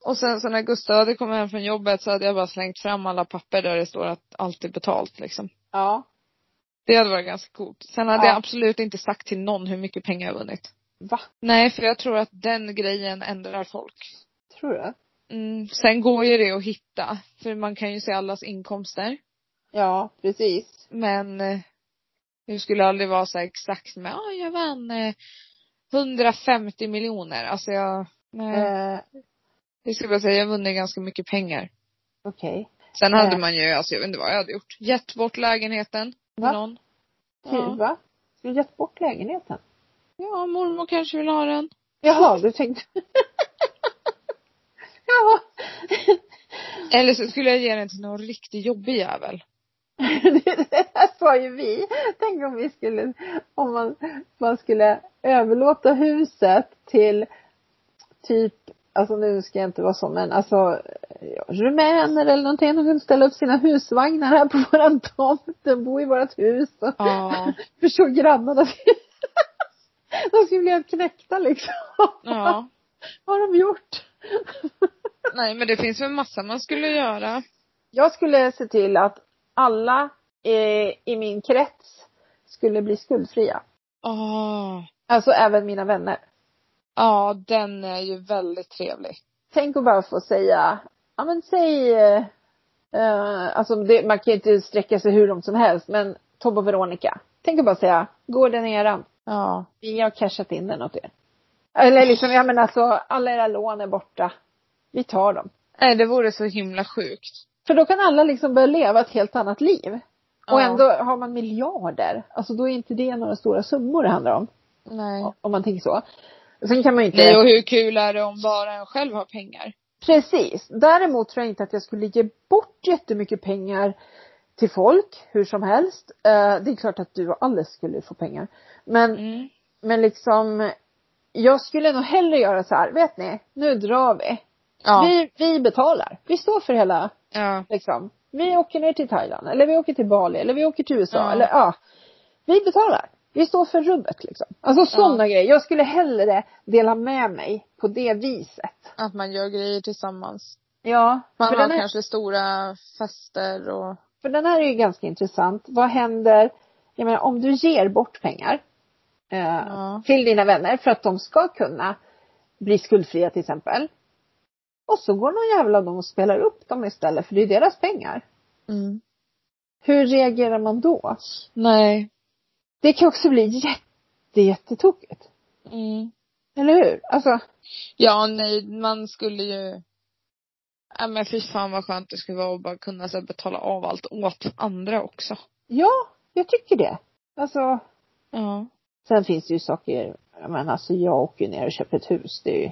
Speaker 2: Och sen så när Gustav hade kommit hem från jobbet så hade jag bara slängt fram alla papper där det står att allt är betalt liksom.
Speaker 1: Ja.
Speaker 2: Det hade varit ganska coolt. Sen hade
Speaker 1: Ja.
Speaker 2: jag absolut inte sagt till någon hur mycket pengar jag vunnit.
Speaker 1: Va?
Speaker 2: Nej, för jag tror att den grejen ändrar folk.
Speaker 1: Tror du?
Speaker 2: Mm, sen går ju det att hitta, för man kan ju se allas inkomster.
Speaker 1: Ja, precis.
Speaker 2: Men eh, det skulle aldrig vara så här exakt med, ja jag vann eh, 150 miljoner. Alltså jag, nej.
Speaker 1: Eh,
Speaker 2: Jag skulle bara säga, jag vunnit ganska mycket pengar.
Speaker 1: Okej.
Speaker 2: Sen hade
Speaker 1: Eh.
Speaker 2: man ju, alltså jag vet inte vad jag hade gjort. Gett bort lägenheten till
Speaker 1: Va?
Speaker 2: någon.
Speaker 1: Ty-
Speaker 2: Ja.
Speaker 1: Va? Ska du gett bort lägenheten?
Speaker 2: ja, mormor kanske vill ha den.
Speaker 1: Jaha, du tänkte. Jaha.
Speaker 2: Eller så skulle jag ge den till någon riktigt jobbig jävel.
Speaker 1: det här sa ju vi. Tänk om vi skulle, om man, man skulle överlåta huset till typ, alltså nu ska jag inte vara så men alltså ja, rumäner eller någonting. De kunde ställa upp sina husvagnar här på våran tomt och bo i vårat hus. Och
Speaker 2: Ja.
Speaker 1: Förstår grannarna. att vi- De skulle bli helt knäckta liksom.
Speaker 2: Ja.
Speaker 1: Vad har de gjort?
Speaker 2: Nej men det finns väl massa man skulle göra.
Speaker 1: Jag skulle se till att alla eh, i min krets skulle bli skuldfria.
Speaker 2: Åh.
Speaker 1: Alltså även mina vänner.
Speaker 2: Ja, den är ju väldigt trevlig.
Speaker 1: Tänk att bara få säga, ja men säg, eh, eh, alltså det, man kan ju inte sträcka sig hur långt som helst, men Tobbe och Veronica. Tänk att bara säga, gården är eran.
Speaker 2: Ja.
Speaker 1: Vi har cashat in den åt er. Eller liksom, ja men alltså alla era lån är borta. Vi tar dem.
Speaker 2: Nej, det vore så himla sjukt.
Speaker 1: För då kan alla liksom börja leva ett helt annat liv. Och
Speaker 2: Ja.
Speaker 1: ändå har man miljarder. Alltså då är inte det några stora summor det handlar om.
Speaker 2: Nej.
Speaker 1: Om man tänker så. Sen kan man ju inte...
Speaker 2: Nej, och hur kul är det om bara en själv har pengar?
Speaker 1: Precis. Däremot tror jag inte att jag skulle ge bort jättemycket pengar till folk hur som helst. Eh, det är klart att du och Alice skulle få pengar. Men,
Speaker 2: Mm.
Speaker 1: men liksom, jag skulle nog hellre göra så här, vet ni, nu drar vi.
Speaker 2: Ja.
Speaker 1: Vi, vi betalar. Vi står för hela,
Speaker 2: Ja.
Speaker 1: liksom, vi åker ner till Thailand eller vi åker till Bali eller vi åker till USA
Speaker 2: Ja.
Speaker 1: eller ja. Vi betalar. Vi står för rubbet liksom. Alltså sådana grejer. Jag skulle hellre dela med mig på det viset.
Speaker 2: Att man gör grejer tillsammans.
Speaker 1: Ja.
Speaker 2: Man
Speaker 1: för
Speaker 2: har
Speaker 1: den här-
Speaker 2: kanske stora fester och
Speaker 1: För den här är ju ganska intressant. Vad händer, jag menar om du ger bort pengar eh,
Speaker 2: Ja.
Speaker 1: till dina vänner för att de ska kunna bli skuldfria till exempel. Och så går någon jävla av dem och spelar upp dem istället för det är deras pengar.
Speaker 2: mm.
Speaker 1: Hur reagerar man då?
Speaker 2: Nej.
Speaker 1: Det kan också bli jätte, jättetokigt.
Speaker 2: Mm.
Speaker 1: Eller hur? Alltså,
Speaker 2: Ja, nej, man skulle ju Ja men fy fan vad skönt det skulle vara att bara kunna så här, betala av allt åt andra också.
Speaker 1: ja, jag tycker det. Alltså,
Speaker 2: Ja.
Speaker 1: sen finns det ju saker, jag menar alltså jag åker ju ner och köper ett hus. Det är ju,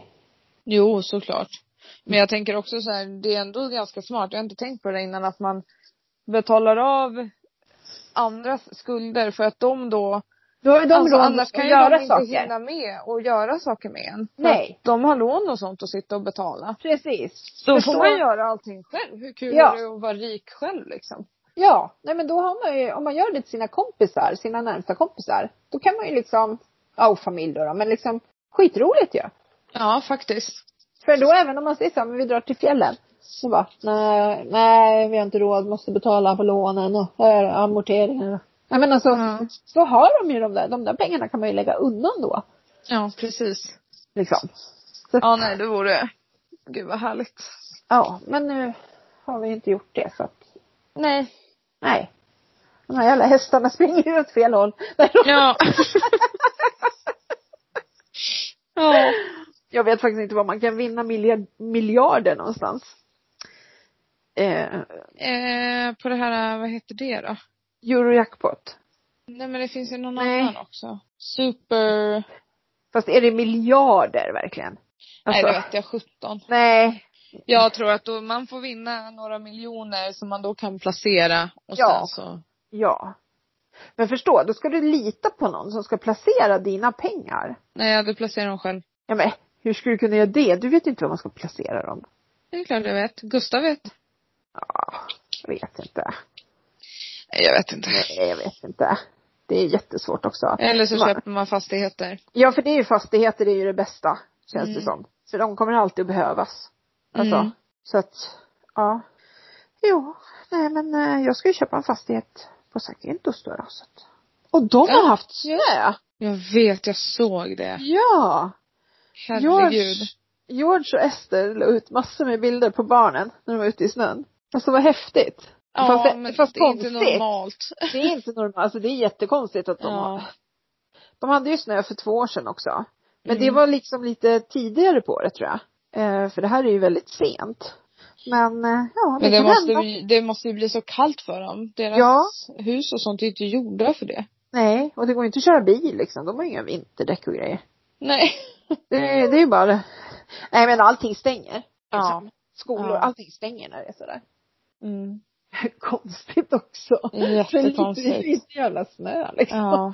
Speaker 2: Jo, såklart. Men jag tänker också så här, det är ändå ganska smart, jag har inte tänkt på det innan, att man betalar av andras skulder för att de då
Speaker 1: då har ju de
Speaker 2: alltså,
Speaker 1: råd
Speaker 2: annars
Speaker 1: att
Speaker 2: kan ju
Speaker 1: göra
Speaker 2: de inte
Speaker 1: saker.
Speaker 2: hinna med och göra saker med en. För
Speaker 1: Nej.
Speaker 2: att De har lån och sånt att sitta och betala.
Speaker 1: Precis.
Speaker 2: Då
Speaker 1: Förstår-
Speaker 2: får man göra allting själv. Hur kul
Speaker 1: Ja.
Speaker 2: är det att vara rik själv liksom?
Speaker 1: Ja, nej men då har man ju, om man gör det till sina kompisar, sina närmsta kompisar, då kan man ju liksom, ja och familj då, då men liksom skitroligt ju. Ja.
Speaker 2: Ja, faktiskt.
Speaker 1: För då även om man säger så här, men vi drar till fjällen. Så bara, nej, nej vi har inte råd, måste betala på lånen och här, amorteringarna. Nej men alltså,
Speaker 2: Ja.
Speaker 1: så har de ju de där, de där pengarna kan man ju lägga undan då.
Speaker 2: Ja, precis.
Speaker 1: Liksom. Så,
Speaker 2: Ja, nej, det vore... Gud vad härligt.
Speaker 1: ja, men nu har vi inte gjort det så att,
Speaker 2: Nej.
Speaker 1: nej. De här jävla hästarna springer ju åt fel håll. Nej, de-
Speaker 2: Ja. ja.
Speaker 1: Jag vet faktiskt inte var man kan vinna miljard, miljarder någonstans. Eh,
Speaker 2: Eh, på det här, vad heter det då?
Speaker 1: Eurojackpot.
Speaker 2: Nej men det finns ju någon
Speaker 1: Nej.
Speaker 2: annan också. Super...
Speaker 1: Fast är det miljarder verkligen?
Speaker 2: Nej
Speaker 1: Alltså,
Speaker 2: det vet jag, 17.
Speaker 1: nej.
Speaker 2: Jag tror att då man får vinna några miljoner som man då kan placera och
Speaker 1: Ja.
Speaker 2: sen så.
Speaker 1: Ja. Men förstå, då ska du lita på någon som ska placera dina pengar.
Speaker 2: Nej, jag hade placerat dem själv.
Speaker 1: Ja, men hur skulle du kunna göra det? Du vet ju inte var man ska placera dem.
Speaker 2: Det är klart jag vet. Gustav vet.
Speaker 1: Ja, jag vet inte.
Speaker 2: Nej, jag vet inte.
Speaker 1: Nej, jag vet inte. Det är jättesvårt också.
Speaker 2: Eller så
Speaker 1: Man-
Speaker 2: köper man fastigheter.
Speaker 1: Ja, för det är ju fastigheter, det är ju det bästa, känns det
Speaker 2: Mm.
Speaker 1: som. För de kommer alltid att behövas. Alltså,
Speaker 2: Mm.
Speaker 1: så att, ja. Jo, nej men eh, jag ska ju köpa en fastighet på Sakintos då, då så att. Och de har
Speaker 2: Ja,
Speaker 1: haft snö!
Speaker 2: Jag vet, jag såg det.
Speaker 1: Ja!
Speaker 2: Herregud.
Speaker 1: George och Ester la ut massor med bilder på barnen när de var ute i snön. Alltså vad häftigt.
Speaker 2: Ja,
Speaker 1: fast det-
Speaker 2: men
Speaker 1: fast
Speaker 2: det är inte
Speaker 1: konstigt.
Speaker 2: normalt.
Speaker 1: Det är inte normalt, alltså det är jättekonstigt att de
Speaker 2: Ja.
Speaker 1: har. De hade ju snö för två år sedan också. Men det
Speaker 2: Mm.
Speaker 1: var liksom lite tidigare på det tror jag. Eh, för det här är ju väldigt sent. Men eh, ja, det,
Speaker 2: Men det
Speaker 1: kan
Speaker 2: måste,
Speaker 1: hända.
Speaker 2: ju, det måste ju bli så kallt för dem. Deras
Speaker 1: Ja.
Speaker 2: hus och sånt är ju inte gjorda för det.
Speaker 1: Nej, och det går ju inte att köra bil liksom. De har ju inga vinterdäck och grejer.
Speaker 2: Nej.
Speaker 1: Det, det är ju bara det. Nej men allting stänger. Liksom,
Speaker 2: Ja.
Speaker 1: Skolor,
Speaker 2: Ja.
Speaker 1: allting stänger när det är sådär.
Speaker 2: Mm.
Speaker 1: Konstigt också. För lite,
Speaker 2: Jättekonstigt.
Speaker 1: lite jävla snö liksom.
Speaker 2: Ja.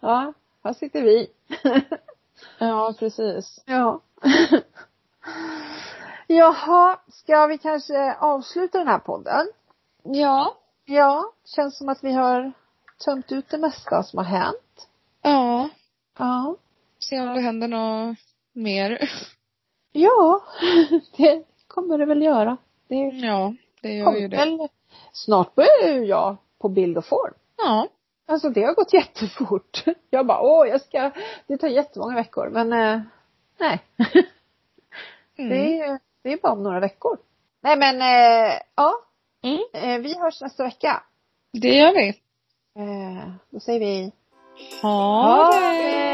Speaker 1: ja, här sitter vi.
Speaker 2: ja, precis.
Speaker 1: Ja. Jaha, ska vi kanske avsluta den här podden?
Speaker 2: Ja.
Speaker 1: Ja, känns som att vi har tömt ut det mesta som har hänt.
Speaker 2: Ja.
Speaker 1: Ja.
Speaker 2: Se om det händer något mer.
Speaker 1: Ja, det kommer det väl göra. Det
Speaker 2: Ja, det gör ju
Speaker 1: kommer
Speaker 2: det.
Speaker 1: väl. Snart börjar ju jag på bild och form.
Speaker 2: Ja.
Speaker 1: Alltså det har gått jättefort. Jag bara, åh jag ska, det tar jättemånga veckor men eh, nej.
Speaker 2: Mm.
Speaker 1: Det, är, det är bara om några veckor. Mm. Nej men eh, ja,
Speaker 2: Mm.
Speaker 1: eh, vi hörs nästa vecka.
Speaker 2: Det gör vi.
Speaker 1: Eh, då säger vi
Speaker 2: Ha det!
Speaker 1: det!